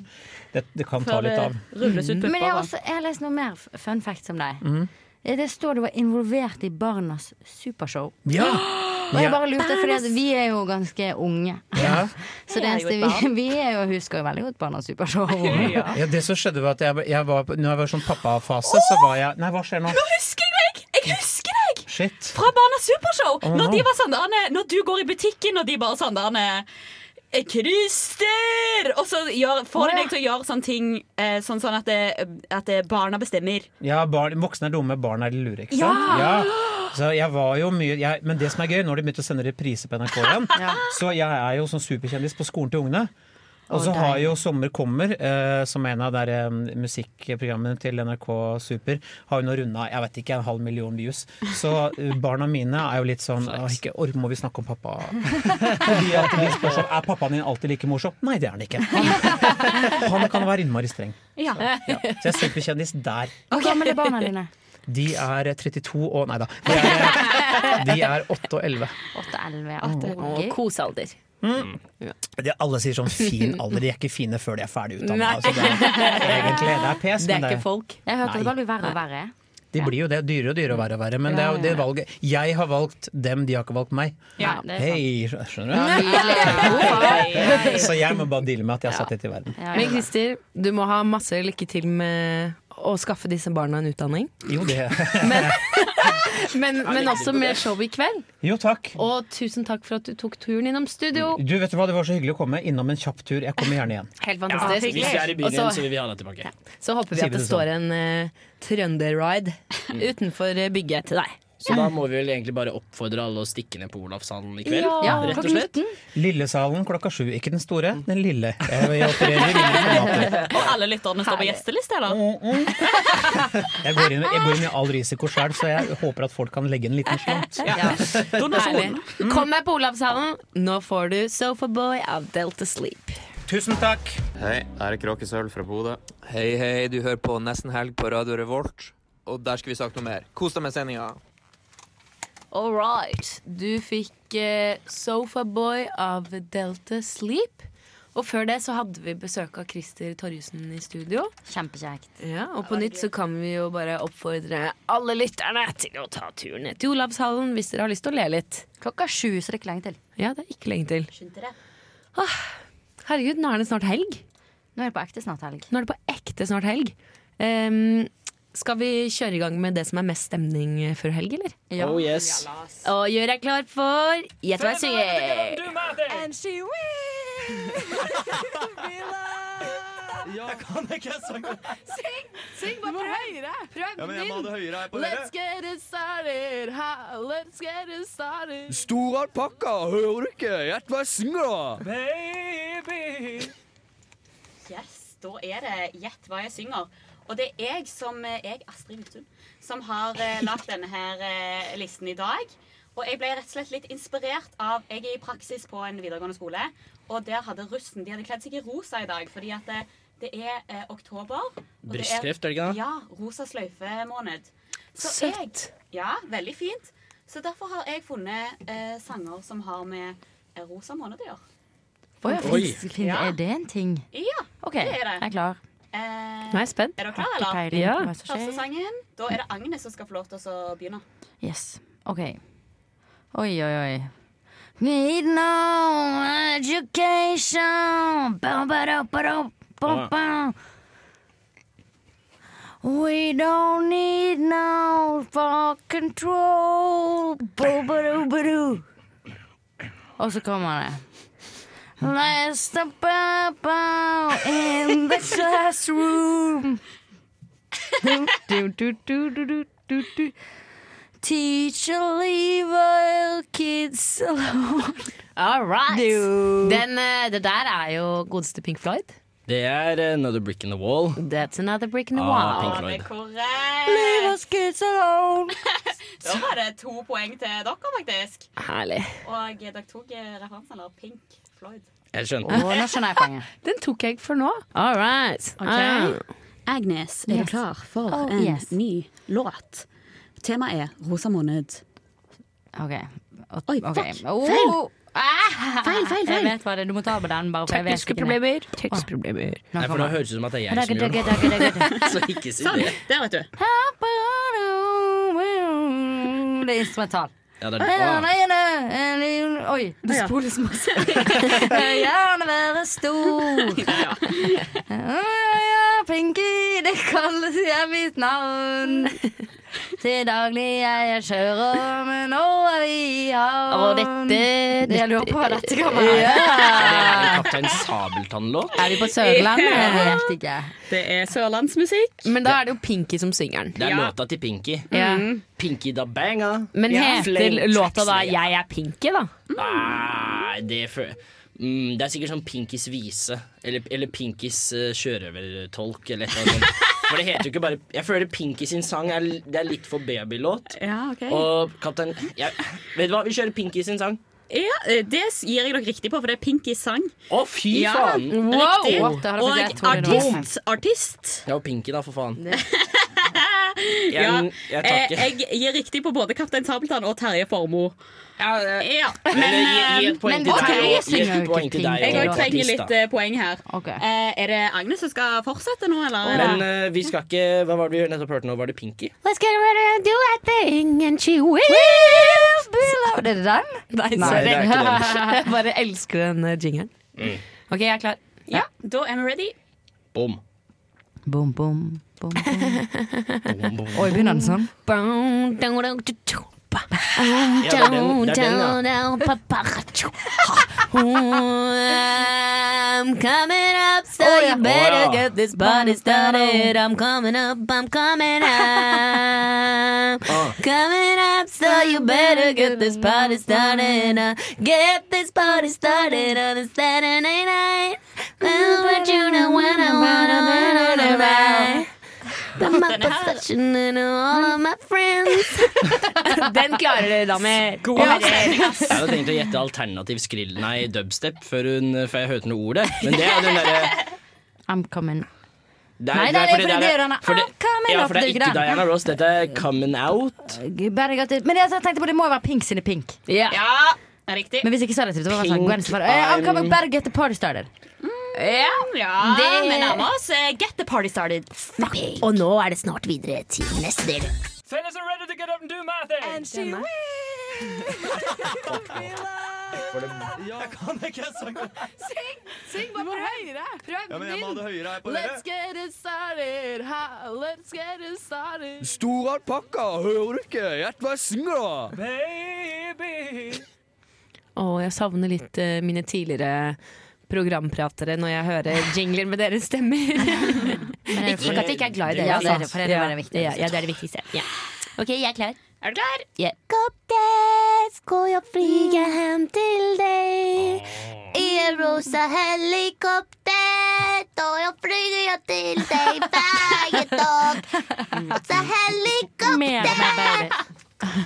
S17: det, det kan ta litt av.
S11: Mhm. Men jeg har, også, jeg har lest noe mer f- fun facts om deg. Eh,
S17: Mhm.
S11: Det står du var involvert i Barnas supershow.
S17: Ja!
S11: Og jeg bare lurte, for vi er jo ganske unge.
S17: Ja.
S11: Så det
S8: Jeg er jo
S11: eneste
S8: et
S11: vi, vi er jo, husker jo veldig godt Barnas supershow.
S17: Ja. det som skjedde var at jeg, jeg var, Når jeg var i sånn pappafase, så var jeg Nei, hva skjer nå?
S10: Nå husker jeg deg! Jeg husker deg!
S17: Shit.
S10: Fra Barnas Supershow!
S17: Å,
S10: Når,
S17: no.
S10: de var sånn der, når du går i butikken, og de bare sånn der eh, Christer! Og så gjør, får de deg til å gjøre sånne ting eh, sånn, sånn at, det, at det barna bestemmer.
S17: Ja, barn, voksne er dumme, barn er lure, ikke
S10: Ja!
S17: sant? Så jeg var jo mye jeg, Men det som er gøy, nå har de begynt å sende reprise på NRK igjen, så jeg er jo sånn superkjendis på skolen til ungene. Og
S8: Å,
S17: så har
S8: deilig.
S17: jo Sommer kommer, eh, som er en av der, eh, musikkprogrammene til NRK Super, har jo nå runda jeg vet ikke, en halv million views. Så eh, barna mine er jo litt sånn «Åh, ikke or, Må vi snakke om pappa? Fordi at de spør sånn Er pappaen din alltid like morsom? Nei, det er han ikke. Han, han kan være innmari streng.
S11: Ja.
S17: Så jeg er superkjendis der.
S11: Hvor gamle er barna dine?
S17: De er 32 og Nei da. De er, de er 8 og 11.
S11: 8-11.
S17: Åh,
S8: kosalder.
S17: Mm. De, alle sier sånn fin alder. De er ikke fine før de er ferdig utdanna.
S11: Nei.
S17: Altså, det, er- egentlig, det er pes, men det,
S11: Jeg hørte
S17: Nei.
S11: det bare blir verre og verre.
S17: de blir jo det. Dyrere og dyrere og verre og verre. Men det er jo det valget. Jeg har valgt dem, de har ikke valgt meg.
S11: Ja, det er
S17: Hei, skjø-
S8: Ja,
S17: skjønner
S8: nydelig.
S17: du? Så jeg må bare deale med at jeg har satt dette i verden.
S8: Men Christer, du må ha masse lykke til med å skaffe disse barna en utdanning.
S17: Jo, det
S8: Men, men også med show i kveld.
S17: Jo, takk.
S8: Og tusen takk for at du tok turen innom studio.
S17: Du, vet du hva, det var så hyggelig å komme. Innom en kjapp tur. Jeg kommer gjerne igjen.
S8: Helt fantastisk.
S3: hvis vi er i byen
S8: Og så-
S3: igjen, så sånn. vil vi ha deg tilbake.
S8: Så håper vi
S17: Sier
S8: at
S17: vi
S8: det
S17: det
S8: står en eh, trønderride utenfor eh, bygget til deg.
S3: Så da må vi vel egentlig bare oppfordre alle å stikke ned på Olavshallen i kveld.
S8: Ja, Ja,
S3: rett og
S8: klokken
S3: slett.
S17: Lillesalen klokka sju. Ikke den store, den lille. Jeg, jeg opererer i mindre formater.
S10: Og alle lytterne står på gjesteliste, eller?
S17: Jeg går inn, jeg går inn i all risiko sjøl, så jeg håper at folk kan legge en liten slant.
S8: Ja. Herlig. Kom deg på Olavshallen. Nå får du Sofaboy av Delta Sleep.
S17: Tusen takk.
S14: Hei, her er Kråkesølv fra Bodø. Hei, hei, du hører på Nesten Helg på Radio Revolt. Og der skal vi snakke noe mer. Kos deg med sendinga.
S8: All right. Du fikk eh, Sofaboy av Delta Sleep. Og før det så hadde vi besøk av Christer Torjussen i studio.
S11: Kjempekjekt.
S8: Ja, og på nytt så kan vi jo bare oppfordre alle lytterne til å ta turen ned til Olavshallen hvis dere har lyst til å le litt.
S11: Klokka er sju, så det er ikke lenge til.
S8: Ja, det er ikke lenge til.
S11: Skynd dere.
S8: Herregud, nå er det snart helg.
S11: Nå er det på ekte snart helg.
S8: Nå er det på ekte snart helg. Ehm, skal vi kjøre i gang med det som er mest stemning før helg, eller?
S3: Ja. Oh, yes.
S8: Og gjør deg klar for Gjett hva jeg synger!
S13: And she will be loved.
S14: Jeg kan ikke synge.
S8: Syng! Syng, bare prøv! Høyere. Prøv
S14: Ja, men jeg må ha det høyere her på
S8: Let's get it started, ha, let's get it started.
S16: Store alpakka, hører du ikke? Gjett hva jeg synger, da!
S10: Baby! Yes, da er det Gjett hva jeg synger. Og det er jeg som eh, jeg, Astrid Hutun, som har eh, lagt denne her eh, listen i dag. Og jeg ble rett og slett litt inspirert av Jeg er i praksis på en videregående skole, og der hadde russen De hadde kledd seg i rosa i dag, fordi at det, det er eh, oktober. og det
S3: Brystkreft, er det ikke det?
S10: Ja. Rosa sløyfe-måned. Så jeg-
S8: Søtt.
S10: Ja, veldig fint. Så derfor har jeg funnet eh, sanger som har med eh, rosa måned å gjøre.
S11: Oi,
S8: Oi.
S11: Fins, fins, er det en ting?
S10: Ja,
S11: Ok,
S10: det er det.
S11: jeg er klar.
S10: Eh,
S20: Nå er jeg spent.
S10: Er dere klare,
S20: Har ikke
S10: eller?
S20: peiling på hva som skjer.
S10: Første sangen. Da er det Agnes som skal få lov til å begynne.
S20: Yes. OK.
S11: Oi, oi, oi. Need no education. Ba, ba, da, ba, da, ba, ba. We don't need no for control. Ba, ba, da, ba, da. Og så kommer det. Let's the bubble in the classroom. Do, do, do, do, do, do, do, do. Teacher leave our kids alone.
S8: All right. Den, eh, det der er jo godeste Pink Floyd.
S3: Det er eh, Another Brick in the Wall.
S8: That's another brick in the
S3: Ah,
S8: wall.
S3: Pink Floyd.
S10: Korrekt.
S8: Leave us kids alone.
S10: Da var det to poeng til dere, faktisk.
S8: Herlig.
S10: Og dere tok eh, referansen, eller Pink Floyd.
S3: Jeg skjønner.
S10: Å, nå
S11: skjønner jeg poenget.
S8: Den tok jeg for nå.
S20: All right.
S8: Ah.
S10: Agnes, er
S20: Yes.
S10: du klar for
S20: Oh,
S10: en
S20: yes.
S10: ny låt? Temaet er rosa måned.
S11: OK.
S10: Oi,
S11: Ok.
S10: fuck!
S11: Oh.
S10: Feil!
S11: Ah!
S10: Feil, feil, feil.
S11: Jeg vet hva det er. Du må ta på den. Bare, for jeg vet
S20: Tekniske
S11: ikke det.
S20: problemer. Tekniske problemer.
S3: Nei, for nå høres det ut som at det er jeg som gjør det. Så ikke si
S11: Sånn.
S3: det.
S10: Der, vet du.
S11: Det er instrumental.
S3: Ja, det er det.
S11: Oi,
S10: det spoles
S11: masse. Jeg vil gjerne være stor. Jeg er Pinky, det kalles jeg mitt navn. Til daglig jeg er kjører, men nå er vi i havn.
S20: Og dette-
S11: Jeg lurer på hva dette kan være.
S3: Er det Kaptein Sabeltann-låt?
S20: Er vi på Sørlandet?
S11: Ja. Jeg vet ikke.
S10: Det er sørlandsmusikk.
S8: Ah.
S20: Men da er det jo Pinky som synger den.
S3: Det er låta til Pinky.
S20: Ja.
S3: Pinky da banga.
S20: Men heter
S3: Flame
S20: låta da
S3: Jackson.
S20: 'Jeg er Pinky', da?
S3: Nei, det er fø- Mm, det er sikkert sånn Pinkys vise, eller, eller Pinkys eh, sjørøvertolk, eller et eller annet sånt. For det heter jo ikke bare Jeg føler Pinky sin sang er, l- det er litt for babylåt.
S10: Ja, ok.
S3: Og Kaptein jeg, Vet du hva, vi kjører Pinky sin sang.
S10: Ja, eh, det gir jeg dere riktig på, for det er Pinky sang.
S3: Å, fy
S10: ja,
S3: faen!
S10: Riktig.
S3: Wow, det har
S10: Og
S3: jeg faktisk- jeg trodde det var
S10: artist. artist.
S3: Ja, og Pinky, da, for faen. Jeg,
S10: Ja,
S3: jeg
S10: eh,
S3: takker.
S10: jeg gir riktig på både Kaptein Sabeltann og Terje Formoe. Ja,
S3: Men, eh, gi- gi et poeng til
S10: ok.
S3: deg, og- gi et poeng til deg,
S10: Jeg
S3: og
S10: også trenger
S3: artist, da.
S10: litt eh, poeng her. Eh, er det Agnes som skal fortsette nå, eller?
S3: Men eh, vi skal ikke Hva var det vi nettopp hørte nå? Var det Pinky?
S11: Let's get ready to do that thing and she will be loved. Er det den?
S20: Nei,
S3: sorry. det er ikke den.
S20: Jeg bare elsker den eh, jingeren.
S3: Mm.
S20: OK, jeg er klar.
S10: ja, da er vi ready.
S3: Bom.
S11: Bom, bom, bom,
S3: bom.
S11: Oi, begynner den sånn?
S14: Ja, det er den- det er den,
S7: I'm coming up, so
S14: ja.
S7: you better
S14: Å, ja.
S7: get this party started. I'm coming up, I'm coming up. Coming up, so you better get this party started. Uh, get this party started on a Saturday night. Well, but you know when I wanna, when I wanna ride. But my possession and all of my friends.
S20: Den klarer dere, damer.
S3: Ja. Jeg hadde tenkt å gjette alternativ skrill Nei, dubstep før, hun, før jeg hørte noe ord der. Men det er den derre
S11: I'm coming.
S3: det
S11: Nei, det er fordi det er denne.
S3: for det-
S10: Ah,
S11: I'm coming
S3: Ja,
S11: up,
S3: for det er
S11: det er
S3: ikke
S11: ikke den.
S3: Diana Ross, dette er Coming Out.
S11: Bare godt ut. Men jeg altså, tenkte på det må jo være Pink sine Pink.
S10: Ja, det er riktig.
S11: Men hvis jeg ikke sa det til det, var det sånn
S10: Pink,
S11: Gwen Stefani. Eh, I'm coming,
S10: I'm-
S11: better get the party started.
S10: Ja,
S11: Det
S10: det
S11: er-
S10: vi nærmer oss. Eh, Get the party started.
S7: Og nå er det snart videre til neste del.
S16: Fellas are ready to get up and do my thing. And she will.
S1: Jeg kan ikke synge.
S20: Syng! Syng bare høyere! Prøv
S1: Ja, men jeg må ha det høyere her på dere.
S20: Let's get it started, ha, let's get it started.
S16: Stor alpakka, hører du ikke? Gjett hva jeg synger, da. Baby.
S20: Å, jeg savner litt eh, mine tidligere programpratere når jeg hører jingler med deres stemmer.
S11: er
S20: ikke,
S11: fordi-
S20: ikke at jeg ikke er glad i
S11: Ja,
S20: dere,
S11: det er det, for det er det
S20: Ja,
S11: det viktigste.
S20: Ja, ja, det er det viktigste. Ja. OK, jeg er klar.
S10: Er du klar?
S20: Yeah.
S7: Helikopter skal jeg flyge hjem til deg. I en rosa helikopter da jeg flyger jeg til deg hver dag. Rosa helikopter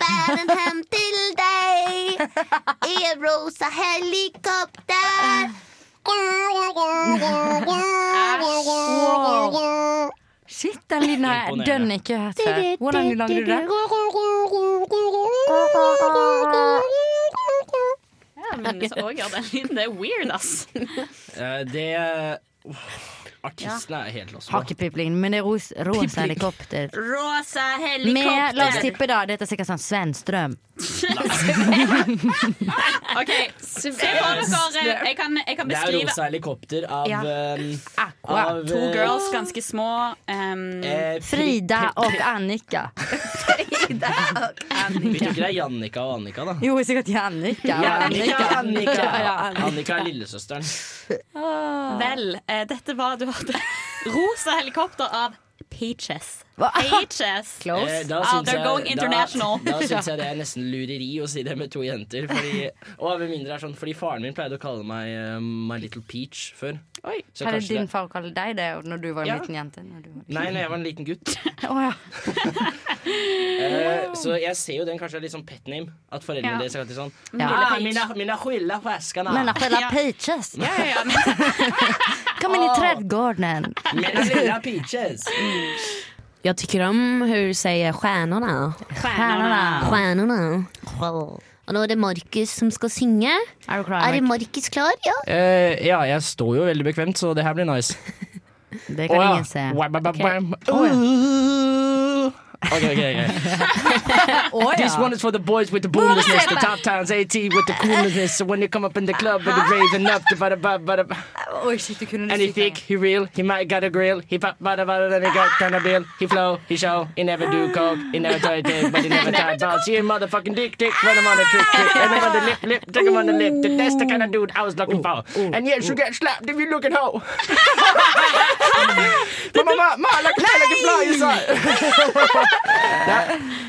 S7: bærer den hjem til deg. I en rosa helikopter.
S11: Shit, den lyden har jeg
S7: Imponerende.
S11: dønn ikke hørt før. Hvordan lagde du det?
S10: Ja, men så også gjør den lyden. Det er weird, ass.
S3: Eh, Det Artistene er helt lost.
S11: Hakkepiplingen, men det er ros, rosa helikopter.
S10: Rosa
S11: Med, la oss
S10: helikopter.
S11: tippe, da. Dette er sikkert sånn Sven Strøm.
S10: OK, se for dere eh, Jeg kan,
S3: Det
S10: jeg kan
S3: er
S10: beskrive
S3: rosa helikopter av,
S10: Ja.
S3: um,
S10: Aqua.
S3: av
S10: To
S3: eh,
S10: girls, ganske små. ehm,
S3: Eh,
S11: Frida og Annika.
S3: Vi tror ikke det er Jannika og Annika, da.
S11: Jo, sikkert Jannika.
S3: Jannika, Annika.
S10: Ja, Annika.
S3: Annika er lillesøsteren.
S10: Vel, eh, dette var Du hørte rosa helikopter av Peaches.
S11: Hva?
S10: Peaches.
S3: Eh, da
S10: Ah,
S3: syns
S10: they're
S3: jeg-
S10: going international.
S3: Da, da syns jeg det er nesten lureri å si det med to jenter. Fordi, og med mindre det er sånn, fordi faren min pleide å kalle meg eh, My Little Peach før.
S11: Oi,
S3: Så
S11: Hadde
S3: kanskje
S11: din
S3: det-
S11: far kalt deg det når du var en
S3: Ja.
S11: liten jente? Når du var...
S3: Nei, når jeg var en liten gutt.
S11: Å, ja.
S3: Eh, så jeg ser jo den kanskje er litt sånn pet name. At foreldrene
S11: Ja.
S3: deres er alltid sånn
S11: Ja.
S3: "Mina- mina- Mina skylder på eskene.
S11: Men jeg spiller peaches. Kom inn i trädgården.
S3: Mina lilla peaches.
S20: Jag tycker om hur du säger stjärnorna.
S12: Stjärnorna.
S7: Stjärnorna. Og nå er det Markus som skal synge.
S11: Er,
S7: det Markus klar? Ja.
S3: Eh, ja, jeg står jo veldig bekvemt, så det her blir nice.
S11: Det
S7: kan
S3: Å, ja.
S7: ingen se.
S3: Wam, wam, wam,
S7: Ok.
S3: wam. Ok, ok, ok. This one is for the boys with the boomlessness, the top towns, AT with the coolness. So when you come up in the club with the rave and up, the bada bada bada.
S11: Oi, shit, du kunne
S3: And he thick, he real, he might got a grill, he pop bada bada, then he got kind of bill, he flow, he show, he never do coke, he never try dick, but he never try bounce. He a motherfucking dick, dick, run him on the trick, trick, and him on the lip, lip, take him on the lip. The- That's the kind of dude I was looking for. And yes, you get slapped if you look at hoe. But my ma, ma, like a fly, like a fly, you saw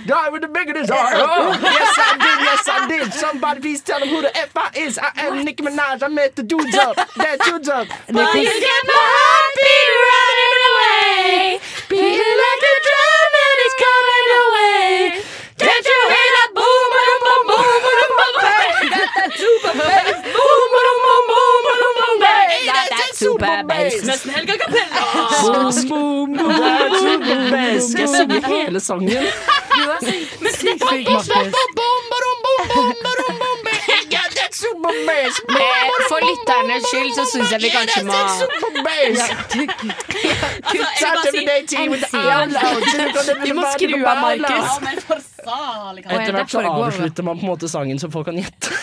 S3: Die with the big of this heart. Oh, yes, I did. Yes, I did. Somebody please tell them who the F I is. I am Nicki Minaj. I met the dudes up. That dudes up.
S14: Boy, you get my heartbeat running away. Beating like a drum and it's coming away. Can't you hear that boom, boom, boom, boom, boom, boom, boom? Got that super bass. Boom, boom, boom, boom, boom, boom, bass. Got that super bass. Nesten Helga Capella.
S3: Boom, boom, boom, boom, boom, best. Jeg synger hele sangen.
S14: Du har så sykt flink, Markus. For lytternes skyld så syns jeg vi kanskje må
S10: Altså, jeg vil bare si-
S14: Vi må skru av,
S10: Ja,
S14: Markus.
S10: men for sali, kan jeg-
S3: Etter hvert så avslutter man på en måte sangen så folk kan gjette.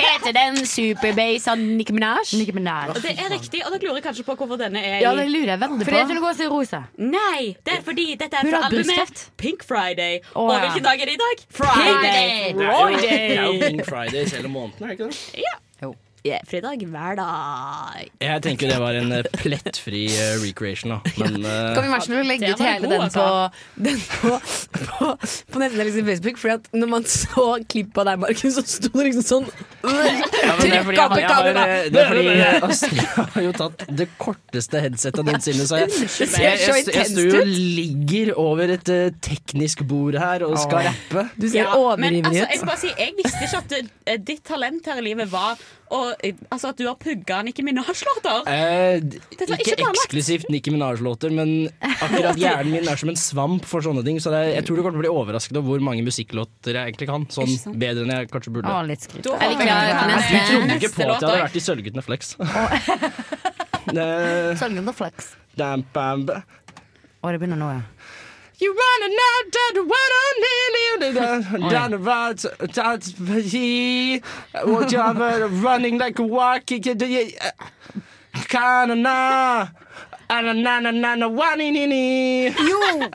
S20: Heter den Superbase av Nicki Minaj?
S11: Nicki Minaj.
S10: Og Det er riktig, og dere lurer kanskje på hvorfor denne er i-
S20: Ja, det lurer jeg veldig
S10: Fordi jeg
S20: på.
S10: tror
S11: Gå og si rosa.
S10: Nei, det er fordi dette er
S11: Hun
S10: fra
S11: har
S10: albumet
S11: bursdag.
S10: Pink Friday.
S11: Å,
S10: og
S11: ja.
S10: hvilken dag er det i dag?
S11: Friday.
S3: Det er jo-
S10: Friday.
S3: Det er jo King Fridays hele måneden, er det ikke det?
S10: Ja. Ja, fredag hver dag.
S3: Jeg tenker det var en eh, plettfri eh, recreation, da. Men eh,
S20: Kan vi være så snill å legge
S10: Det
S20: ut
S10: var
S20: hele
S10: god,
S20: den på,
S10: altså.
S20: den på, på, på nettdelen sin Facebook? Fordi at når man så klipp av deg, Markus, så sto det liksom sånn
S3: Ja, men det er fordi jeg, jeg, har, eh, det er fordi jeg,
S20: Trykk
S3: Astrid har jo tatt det korteste headsetet noensinne, så jeg,
S20: Det ser så
S3: jeg, jeg, jeg
S20: intenst
S3: står jo
S20: ut.
S3: og ligger over et eh, teknisk bord her og
S20: Åh.
S3: skal rappe.
S20: Du ser
S10: Ja, men altså,
S20: overivrig
S10: jeg, vil
S20: ut.
S10: bare si, jeg visste ikke at eh, ditt talent her i livet var å, eh, altså, at du har pugga Nicki Minaj-låter.
S3: Eh,
S10: Dette var
S3: ikke
S10: ikke planlagt.
S3: eksklusivt Nicki Minaj-låter, men akkurat hjernen min er som en svamp for sånne ting, så det er, jeg tror du kommer til å bli overrasket over hvor mange musikklåter jeg egentlig kan. Sånn bedre enn jeg kanskje burde.
S11: Å, litt skryt.
S10: Da-
S11: Er vi klare for
S3: Du trodde
S11: neste?
S3: ikke på at jeg hadde vært i Sølvguttene Flex. Det-
S11: Sølvguttene Flex.
S3: Dam, bam, ba-
S11: Å, det begynner nå, ja.
S3: You running out down the water, nearly down the road, down the sea. What you ever running like a walking, kind of uh, na. And a na na na na one in in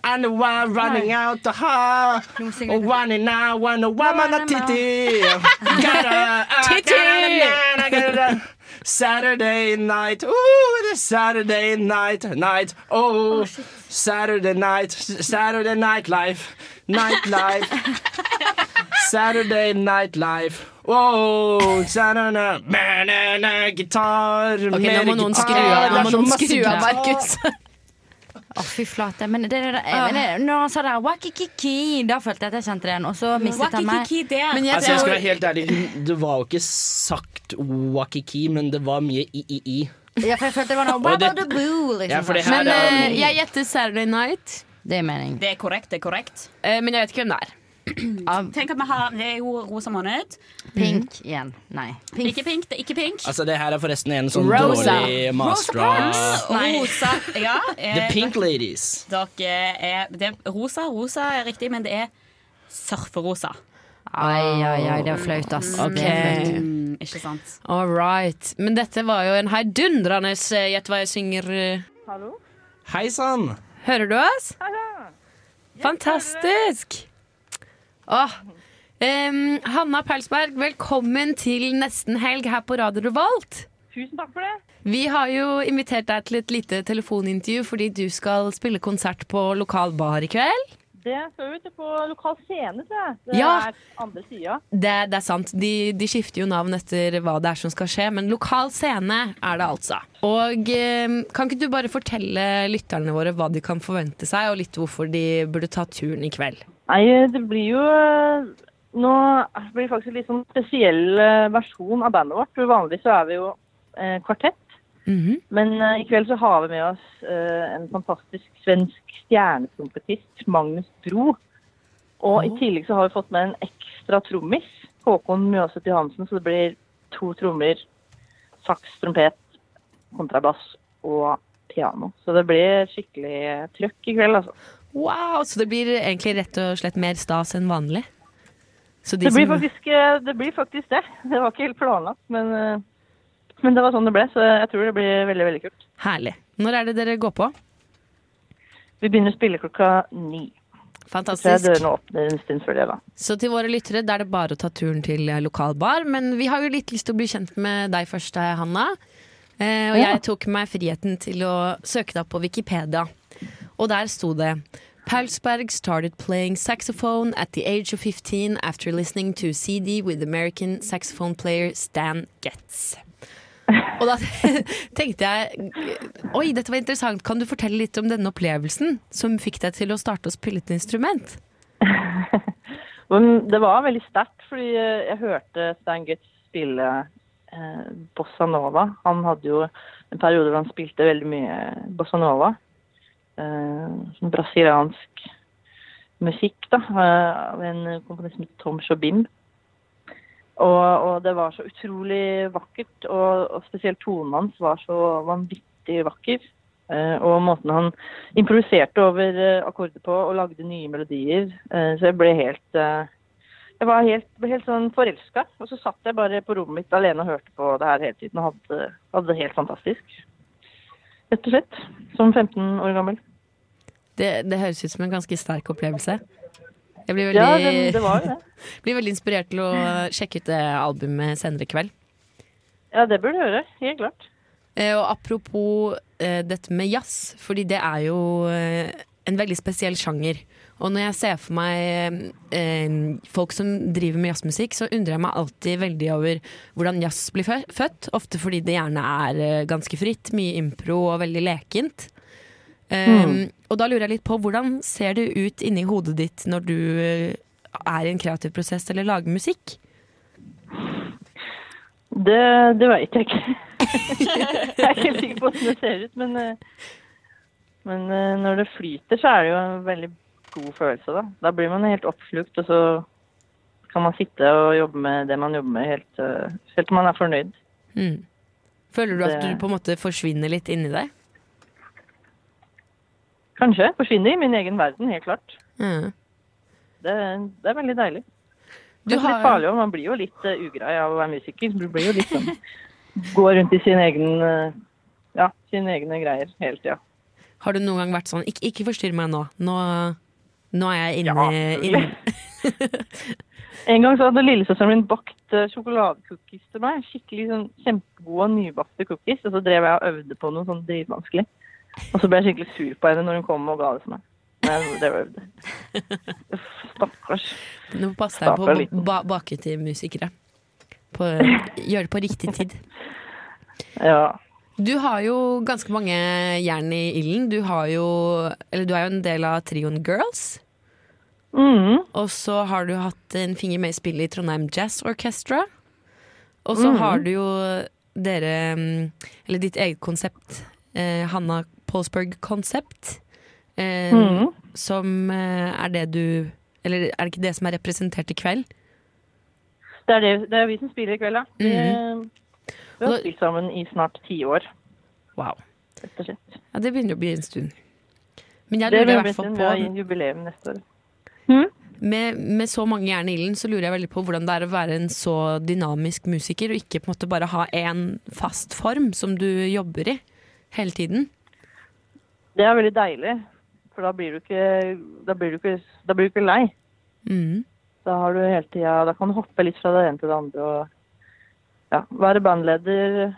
S3: And a one running out the ha One in now one a woman a titty Gotta Titty Saturday night Ooh it is Saturday night night Oh, Saturday night S- Saturday night life Night life Saturday night life Wow, na-na-na, na-na-na, gitar,
S20: Ok, nå må noen skru
S3: gitar,
S20: av, nå
S3: Ah,
S20: må
S3: det er sånn så
S20: noen
S3: masse
S20: skru av,
S3: gitar.
S20: Markus.
S11: Å, fy flate. Men det, det, det, det, når han sa det her wakikiki, da følte jeg at jeg kjente den, og så mistet han meg.
S10: Wakikiki, det er-
S11: Men jeg
S3: altså, jeg skal
S11: tror-
S3: være helt ærlig, hun- det var jo ikke sagt wakiki, men det var mye i-i-i.
S11: Ja, for jeg følte det var noe
S3: Og det-
S11: wabadaboo, liksom.
S3: Ja, for det her
S11: Men,
S3: er-
S11: eh,
S20: Jeg gjetter Saturday Night,
S11: Det er mening.
S10: Det er korrekt, det er korrekt.
S20: eh, men jeg vet ikke hvem det er.
S10: Tenk at vi har Det er jo rosa måned.
S11: Pink igjen. Nei.
S10: Ikke pink, det er ikke pink.
S3: Altså, det her er forresten en sånn
S10: Rosa.
S3: dårlig mastra.
S10: Rosa. Ja. eh,
S3: The Pink Ladies.
S10: Dere er, det er rosa, rosa er riktig, men det er surferosa.
S11: Ai, ai, ai, det er flaut, ass.
S10: Mm,
S11: Det er flaut.
S10: Mm, ikke sant.
S8: All right. Men dette var jo en heidundrende eh, Gjett hva jeg synger. eh.
S21: Hallo?
S3: Hei sann!
S8: Hører du oss? Fantastisk! Åh. Em, Hanna Persberg, velkommen til nesten helg her på Radio Revolt.
S21: Tusen takk for det.
S8: Vi har jo invitert deg til et lite telefonintervju fordi du skal spille konsert på lokal bar i kveld.
S21: Det står ute på lokal scene, tror jeg. Det
S8: Ja.
S21: er andre sida.
S8: Det, det er sant. De, de skifter jo navn etter hva det er som skal skje, men lokal scene er det altså. Og eh, kan ikke du bare fortelle lytterne våre hva de kan forvente seg, og litt hvorfor de burde ta turen i kveld?
S21: Nei, det blir jo eh, Nå blir det faktisk en litt sånn spesiell eh, versjon av bandet vårt. For vanlig så er vi jo eh, kvartett. Men eh, i kveld så har vi med oss eh, en fantastisk svensk stjernetrompetist, Magnus Bro. Og i tillegg så har vi fått med en ekstra trommis, Håkon Mjøseth Johansen. Så det blir to trommer, saks, trompet, kontrabass og piano. Så det blir skikkelig eh, trøkk i kveld, altså.
S8: Wow, så det blir egentlig rett og slett mer stas enn vanlig? Så de
S21: det, blir
S8: som-
S21: faktisk, eh, det blir faktisk det. Det var ikke helt planlagt, men, eh, men det var sånn det ble. Så jeg tror det blir veldig, veldig kult.
S8: Herlig. Når er det dere går på?
S21: Vi begynner å spille klokka ni. Så jeg
S8: Fantastisk.
S21: dørene åpner en stund før det, da.
S8: Så til våre lyttere, da er det bare å ta turen til eh, lokal bar. Men vi har jo litt lyst til å bli kjent med deg først, eh, Hanna. Eh, og
S21: Ja.
S8: jeg tok meg friheten til å søke deg opp på Wikipedia. Og der sto det Paulsberg started playing saxophone at the age of 15 after listening to CD with American saxophone player Stan Getz. Og da tenkte jeg Oi, dette var interessant. Kan du fortelle litt om denne opplevelsen som fikk deg til å starte å spille et instrument?
S21: Men det var veldig sterkt, fordi eh, jeg hørte Stan Gutt spille eh, bossa nova. Han hadde jo en periode hvor han spilte veldig mye bossa nova. Eh, sånn brasiliansk musikk, da. Eh, av en komponist som heter Tom Jobim. Og, og det var så utrolig vakkert, og, og spesielt tonen hans var så vanvittig vakker. Eh, og måten han improviserte over eh, akkorder på og lagde nye melodier. Eh, så jeg ble helt eh, Jeg var helt, ble helt sånn forelska. Og så satt jeg bare på rommet mitt alene og hørte på det her hele tiden og hadde, hadde det helt fantastisk. Rett og slett. Som 15 år gammel.
S8: Det, det høres ut som en ganske sterk opplevelse. Jeg blir veldig,
S21: Ja, det- det var jo det.
S8: blir veldig inspirert til å sjekke ut det albumet senere i kveld.
S21: Ja, det burde du høre. Helt klart.
S8: Eh, Og apropos eh, dette med jazz, fordi det er jo eh, en veldig spesiell sjanger. Og når jeg ser for meg eh, folk som driver med jazzmusikk, så undrer jeg meg alltid veldig over hvordan jazz blir fø- født. Ofte fordi det gjerne er eh, ganske fritt, mye impro og veldig lekent. Eh,
S21: Mm.
S8: Og da lurer jeg litt på hvordan ser det ut inni hodet ditt når du eh, er i en kreativ prosess eller lager musikk?
S21: Det, det veit jeg ikke. jeg er ikke helt sikker på hvordan det ser ut, men, eh, men eh, når det flyter, så er det jo en veldig god følelse, da. Da blir man helt oppslukt, og så kan man sitte og jobbe med det man jobber med, helt, eh, helt til man er fornøyd.
S8: Mm. Føler du at
S21: Det-
S8: du på en måte forsvinner litt inni deg?
S21: Kanskje. Forsvinner i min egen verden, helt klart.
S8: Mm.
S21: Det, det er veldig deilig.
S8: Du
S21: Det er ikke
S8: har-
S21: litt farlig, og man blir jo litt eh, ugrei av å være musiker. Du blir jo litt sånn Går rundt i sin egen eh, Ja, sine egne greier hele tida.
S8: Har du noen gang vært sånn Ikke, ikke forstyrr meg nå. nå. Nå er jeg inne, inne.
S21: En gang så hadde lillesøsteren min bakt eh, sjokoladecookies til meg. Skikkelig sånn kjempegode nybakte cookies. Og så drev jeg og øvde på noe sånn dritvanskelig. Og så ble jeg skikkelig sur på henne når hun kom og ga det til meg. Men jeg drev og øvde. Uff, Stakkars.
S8: Nå passer jeg på
S21: Stakkar
S8: å
S21: liten.
S8: ba bake til musikere. På, gjør det på riktig tid.
S21: Ja.
S8: Du har jo ganske mange jern i ilden. Du har jo Eller du er jo en del av trioen Girls. Og så har du hatt en finger med i spillet i Trondheim Jazz Orchestra. Og så
S21: Mhm.
S8: har du jo dere mm, Eller ditt eget konsept, eh, Hanna Polsberg Concept, eh,
S21: Mhm.
S8: som eh, er det du Eller er det ikke det som er representert i kveld?
S21: Det er, det, det er vi som spiller i kveld, ja. Vi,
S8: Mhm.
S21: eh, vi har spilt sammen i snart ti år.
S8: Wow.
S21: Rett og slett.
S8: Ja, det begynner å bli en stund. Men jeg
S21: Det
S8: lurer i
S21: blir
S8: hvert fall
S21: bestemt, Vi
S8: på
S21: har jubileum neste år.
S8: med, med så mange jern i ilden, så lurer jeg veldig på hvordan det er å være en så dynamisk musiker, og ikke på en måte bare ha én fast form som du jobber i hele tiden.
S21: Det er veldig deilig, for da blir du ikke, da blir du ikke, da blir du ikke lei. Da, har du hele tida, da kan du hoppe litt fra det ene til det andre og ja, være bandleder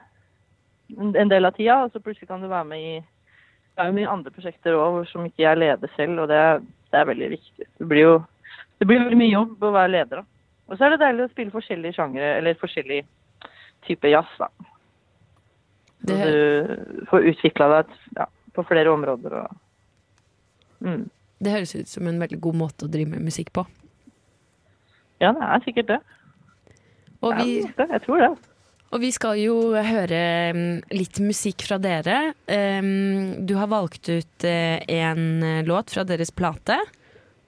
S21: en en del av tida. Og så plutselig kan du være med i Det er jo mye andre prosjekter òg som ikke jeg leder selv, og det, er- det er veldig viktig. Det blir jo det blir veldig mye jobb å være leder av. Og så er det deilig å spille forskjellige sjangere, eller forskjellig type jazz, da. Så du får utvikla deg ja, på flere områder og
S8: Det høres ut som en veldig god måte å drive med musikk på.
S21: Ja, det er sikkert det.
S8: Og
S21: Det er
S8: vi,
S21: nok det, jeg tror det.
S8: og vi skal jo høre mm, litt musikk fra dere. Um, du har valgt ut eh, en eh, låt fra deres plate. Um,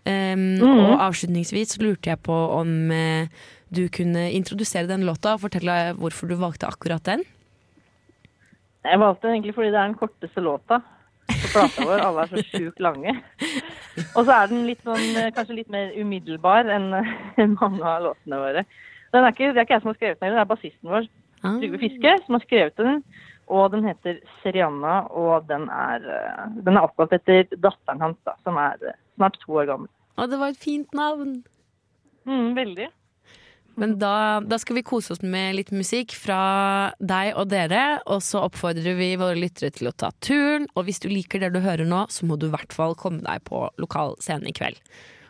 S21: Mhm.
S8: Og avslutningsvis så lurte jeg på om eh, du kunne introdusere den låta og fortelle hvorfor du valgte akkurat den.
S21: Jeg valgte den egentlig fordi det er den korteste låta på plata vår. Alle er så sjukt lange. Og så er den litt sånn, eh, kanskje litt mer umiddelbar enn enn mange av låtene våre. Den er ikke, det er ikke jeg som har skrevet den, heller, det er bassisten vår, Trygve Fiske, som har skrevet den. Og den heter Serianna, og den er, eh, den er oppkalt etter datteren hans, da, som er eh, snart to år gammel.
S8: Og det var et fint navn.
S21: Mm, veldig.
S8: Men da, da skal vi kose oss med litt musikk fra deg og dere, og så oppfordrer vi våre lyttere til å ta turen. Og hvis du liker det du hører nå, så må du i hvert fall komme deg på lokal scene i kveld.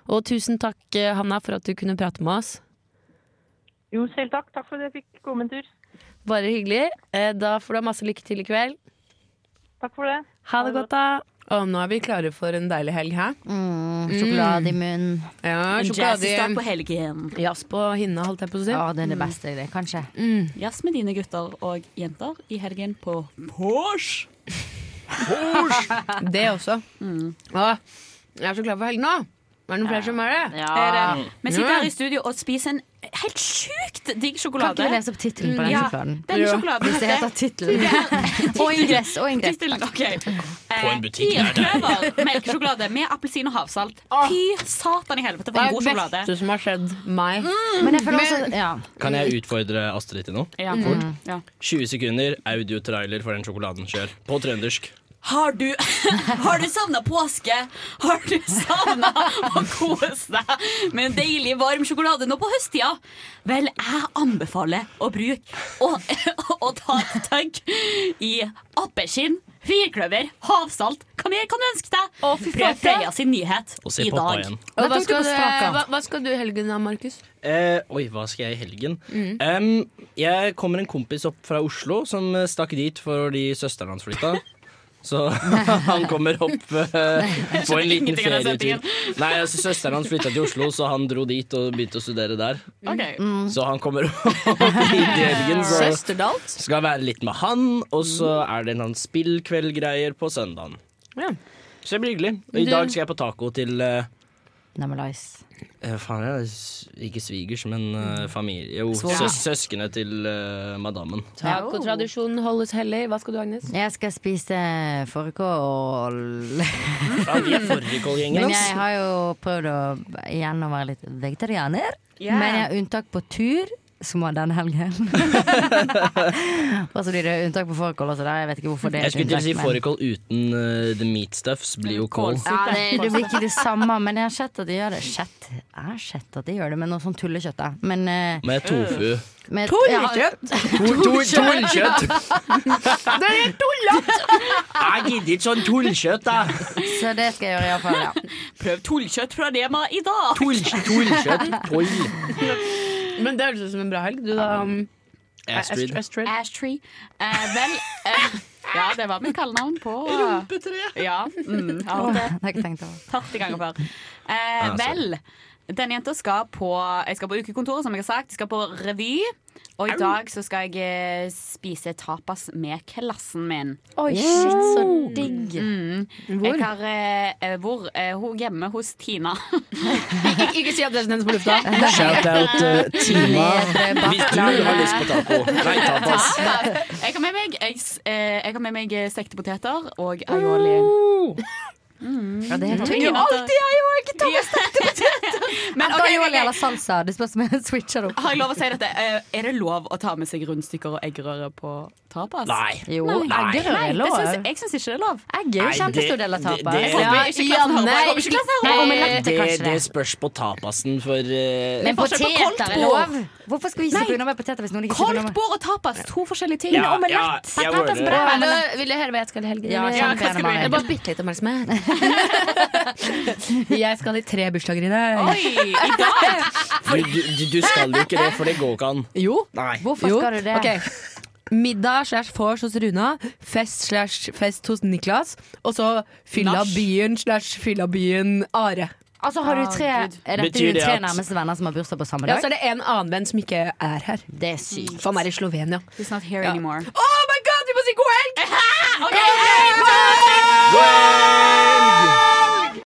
S8: Og tusen takk, eh, Hanna, for at du kunne prate med oss.
S21: Jo, selv takk. Takk for at jeg fikk komme en tur.
S8: Bare hyggelig. Eh, Da får du ha masse lykke til i kveld.
S21: Takk for det.
S8: Ha det godt, da. Og nå er vi klare for en deilig helg, hæ?
S11: sjokolade Mm. i
S8: munnen. Ja,
S11: En
S8: sjokolade i-
S11: jazzstart på
S10: helgen.
S8: Jazz på hinna, holdt jeg på å si.
S11: Ja, det er det beste i det, kanskje.
S10: Jazz med dine gutter og jenter i helgen på Pors.
S8: Det også. Å, jeg er så glad for helgen nå. Er det noen flere som er det?
S10: Er
S11: Mm.
S10: det? Vi sitter her i studio og spiser en helt sjukt digg sjokolade.
S11: Kan ikke du lese opp tittelen på den sjokoladen?
S10: Denne
S11: Jo.
S10: sjokoladen
S11: Hvis det heter tittelen. Og ingress, og ingress.
S10: Tittelen, ok.
S11: På en butikk nær deg.
S10: Firkløver melkesjokolade med appelsin og havsalt.
S11: Ah.
S10: Fy satan i helvete, for
S8: Det er
S10: en god
S8: det
S10: sjokolade.
S8: beste som har skjedd meg.
S11: Men jeg føler også
S8: Men-
S11: ja.
S3: Kan jeg utfordre Astrid til noe?
S10: Ja.
S3: Fort.
S10: Mm. Ja.
S3: 20 sekunder audiotrailer for den sjokoladen kjør. På trøndersk.
S10: Har du, har du savna påske? Har du savna å kose deg med en deilig, varm sjokolade nå på høsttida? Vel, jeg anbefaler å bruke å, å ta et tøgg i appelsin, firkløver, havsalt. Hva mer kan du ønske deg? Det er Freya sin nyhet
S3: Og se
S10: i
S3: pappa
S10: dag.
S3: igjen.
S8: Og hva, skal du, hva, hva skal du i helgen da, Markus?
S3: Eh, oi, hva skal jeg i helgen?
S8: Mm.
S3: Em, jeg kommer en kompis opp fra Oslo som eh, stakk dit fordi søsteren hans flytta. Så han kommer opp eh, på en liten
S10: Ingenting av den
S3: ferietur. Nei, altså, Søsteren hans flytta til Oslo, så han dro dit og begynte å studere der. Så han kommer opp i helgen. Så
S8: Søsterdalt?
S3: skal være litt med han, og så er det en annen spillkveldgreier på søndagen.
S8: Ja.
S3: Så det blir hyggelig. Og I
S11: Du-
S3: dag skal jeg på taco til eh,
S11: Nemlice.
S3: Eh, faen, jeg er s- ikke svigers, men eh, familie Jo,
S11: Svoger.
S3: søs søskene til eh, madammen.
S8: Tacotradisjonen holdes hellig. Hva skal du, Agnes?
S11: Jeg skal spise fårikål.
S3: Faen, vi er fårikålgjengen,
S11: Men
S3: ass.
S11: jeg har jo prøvd å igjen å være litt vegetarianer.
S8: Ja.
S11: Men jeg har unntak på tur, som var denne helgen. Og så blir det unntak på fårikål også, der. Jeg vet ikke hvorfor det er
S3: Jeg
S11: et
S3: skulle til å
S11: unntak,
S3: si
S11: men-
S3: fårikål uten eh, the meat stuffs blir jo kål.
S11: Ja, det, det blir ikke det samme, men jeg har sett at de gjør det. Sett, jeg har sett at de gjør det med noe sånn tullekjøtt. da. Men, eh,
S3: Med tofu.
S11: med-
S3: Tullekjøtt? Tull- tull-
S11: Det er tullete!
S3: Jeg gidder ikke sånn tullkjøtt, da.
S11: Så det skal jeg gjøre iallfall, ja.
S10: Prøv tullkjøtt fra Rema i dag.
S3: Tullkjøtt. Tull.
S8: Men det høres ut som en bra helg. Du da, um,
S3: Astrid.
S10: Ashtree. Eh, vel eh, Ja, det var mitt kallenavn på Rumpetre. Ja. Mm, jeg har hørt det.
S11: har ikke tenkt over.
S10: Tatt i gang før. Eh,
S11: Ah, sorry.
S10: vel, den jenta skal på Jeg skal på ukekontoret, som jeg har sagt. Jeg skal på revy. Og i dag så skal jeg eh, spise tapas med klassen min.
S8: Oi, shit, så digg.
S10: Mm.
S8: Hvor?
S10: Jeg har, eh, eh, hvor? Eh, hun hjemme hos Tina.
S8: ikke, si adressen hennes på lufta.
S3: Shout-out eh, Tima. Hvis du har lyst på taco. Nei, tapas.
S10: Tapas. eh, Jeg har med meg, jeg, s- eh, jeg har med meg eh, stekte poteter og aioli.
S11: Ja, det er helt
S10: Tygger
S11: tydelig.
S10: alltid aioli! Ta med stekte
S11: Men
S10: ok,
S11: aioli
S10: ok.
S11: eller salsa? Det spørs om jeg switcher det opp.
S10: Har jeg lov å si dette? Eh, Er det lov å ta med seg rundstykker og eggerøre på tapas?
S11: Nei. Jo, eggerøre
S10: Nei,
S11: er
S10: det
S11: lov.
S10: syns- Jeg syns ikke det er lov.
S11: Egg er jo
S3: Nei, kjempestor det- del av det- tapas. det-
S10: Jeg håper ikke klassen hører på. Jeg håper ikke klassen hører på.
S3: det, det spørs på tapasen for eh,
S11: Men
S3: forskjell på
S11: poteter er
S3: koldtbord.
S11: lov. Hvorfor skal vi
S10: Nei.
S11: sitte unna med poteter hvis noen ikke sitter unna med
S10: Koldtbord og tapas, to forskjellige ting.
S3: Ja, ja, jeg gjorde det.
S8: Bra,
S11: Eller-
S8: eller vil jeg høre hva jeg skal i helgen?
S11: Ja,
S8: Eller-
S11: kjempe gjerne,
S8: Det
S11: Mari.
S8: er bare bitte litt oppmerksomhet. jeg skal i tre bursdager i dag.
S10: i dag!
S3: Du, du, du skal jo ikke det, for det går ikke an.
S8: Jo.
S3: Nei.
S8: Hvorfor skal du det? Middag slash vors hos Runa, fest slash fest hos Niklas, og så fylla
S11: Nach.
S8: byen slash fylla byen Are.
S11: Altså har du tre
S8: Ah,
S11: Er
S8: Gud.
S11: dette
S8: Betyr
S11: dine
S8: det
S11: tre
S8: at-
S11: nærmeste venner som har bursdag på samme dag?
S8: Ja, så er det en annen venn som ikke er her. Det er sykt. For han er i Slovenia.
S10: He's not here anymore.
S8: Oh my god, vi må si god helg!
S10: Ok, hei, bye!
S3: Helg!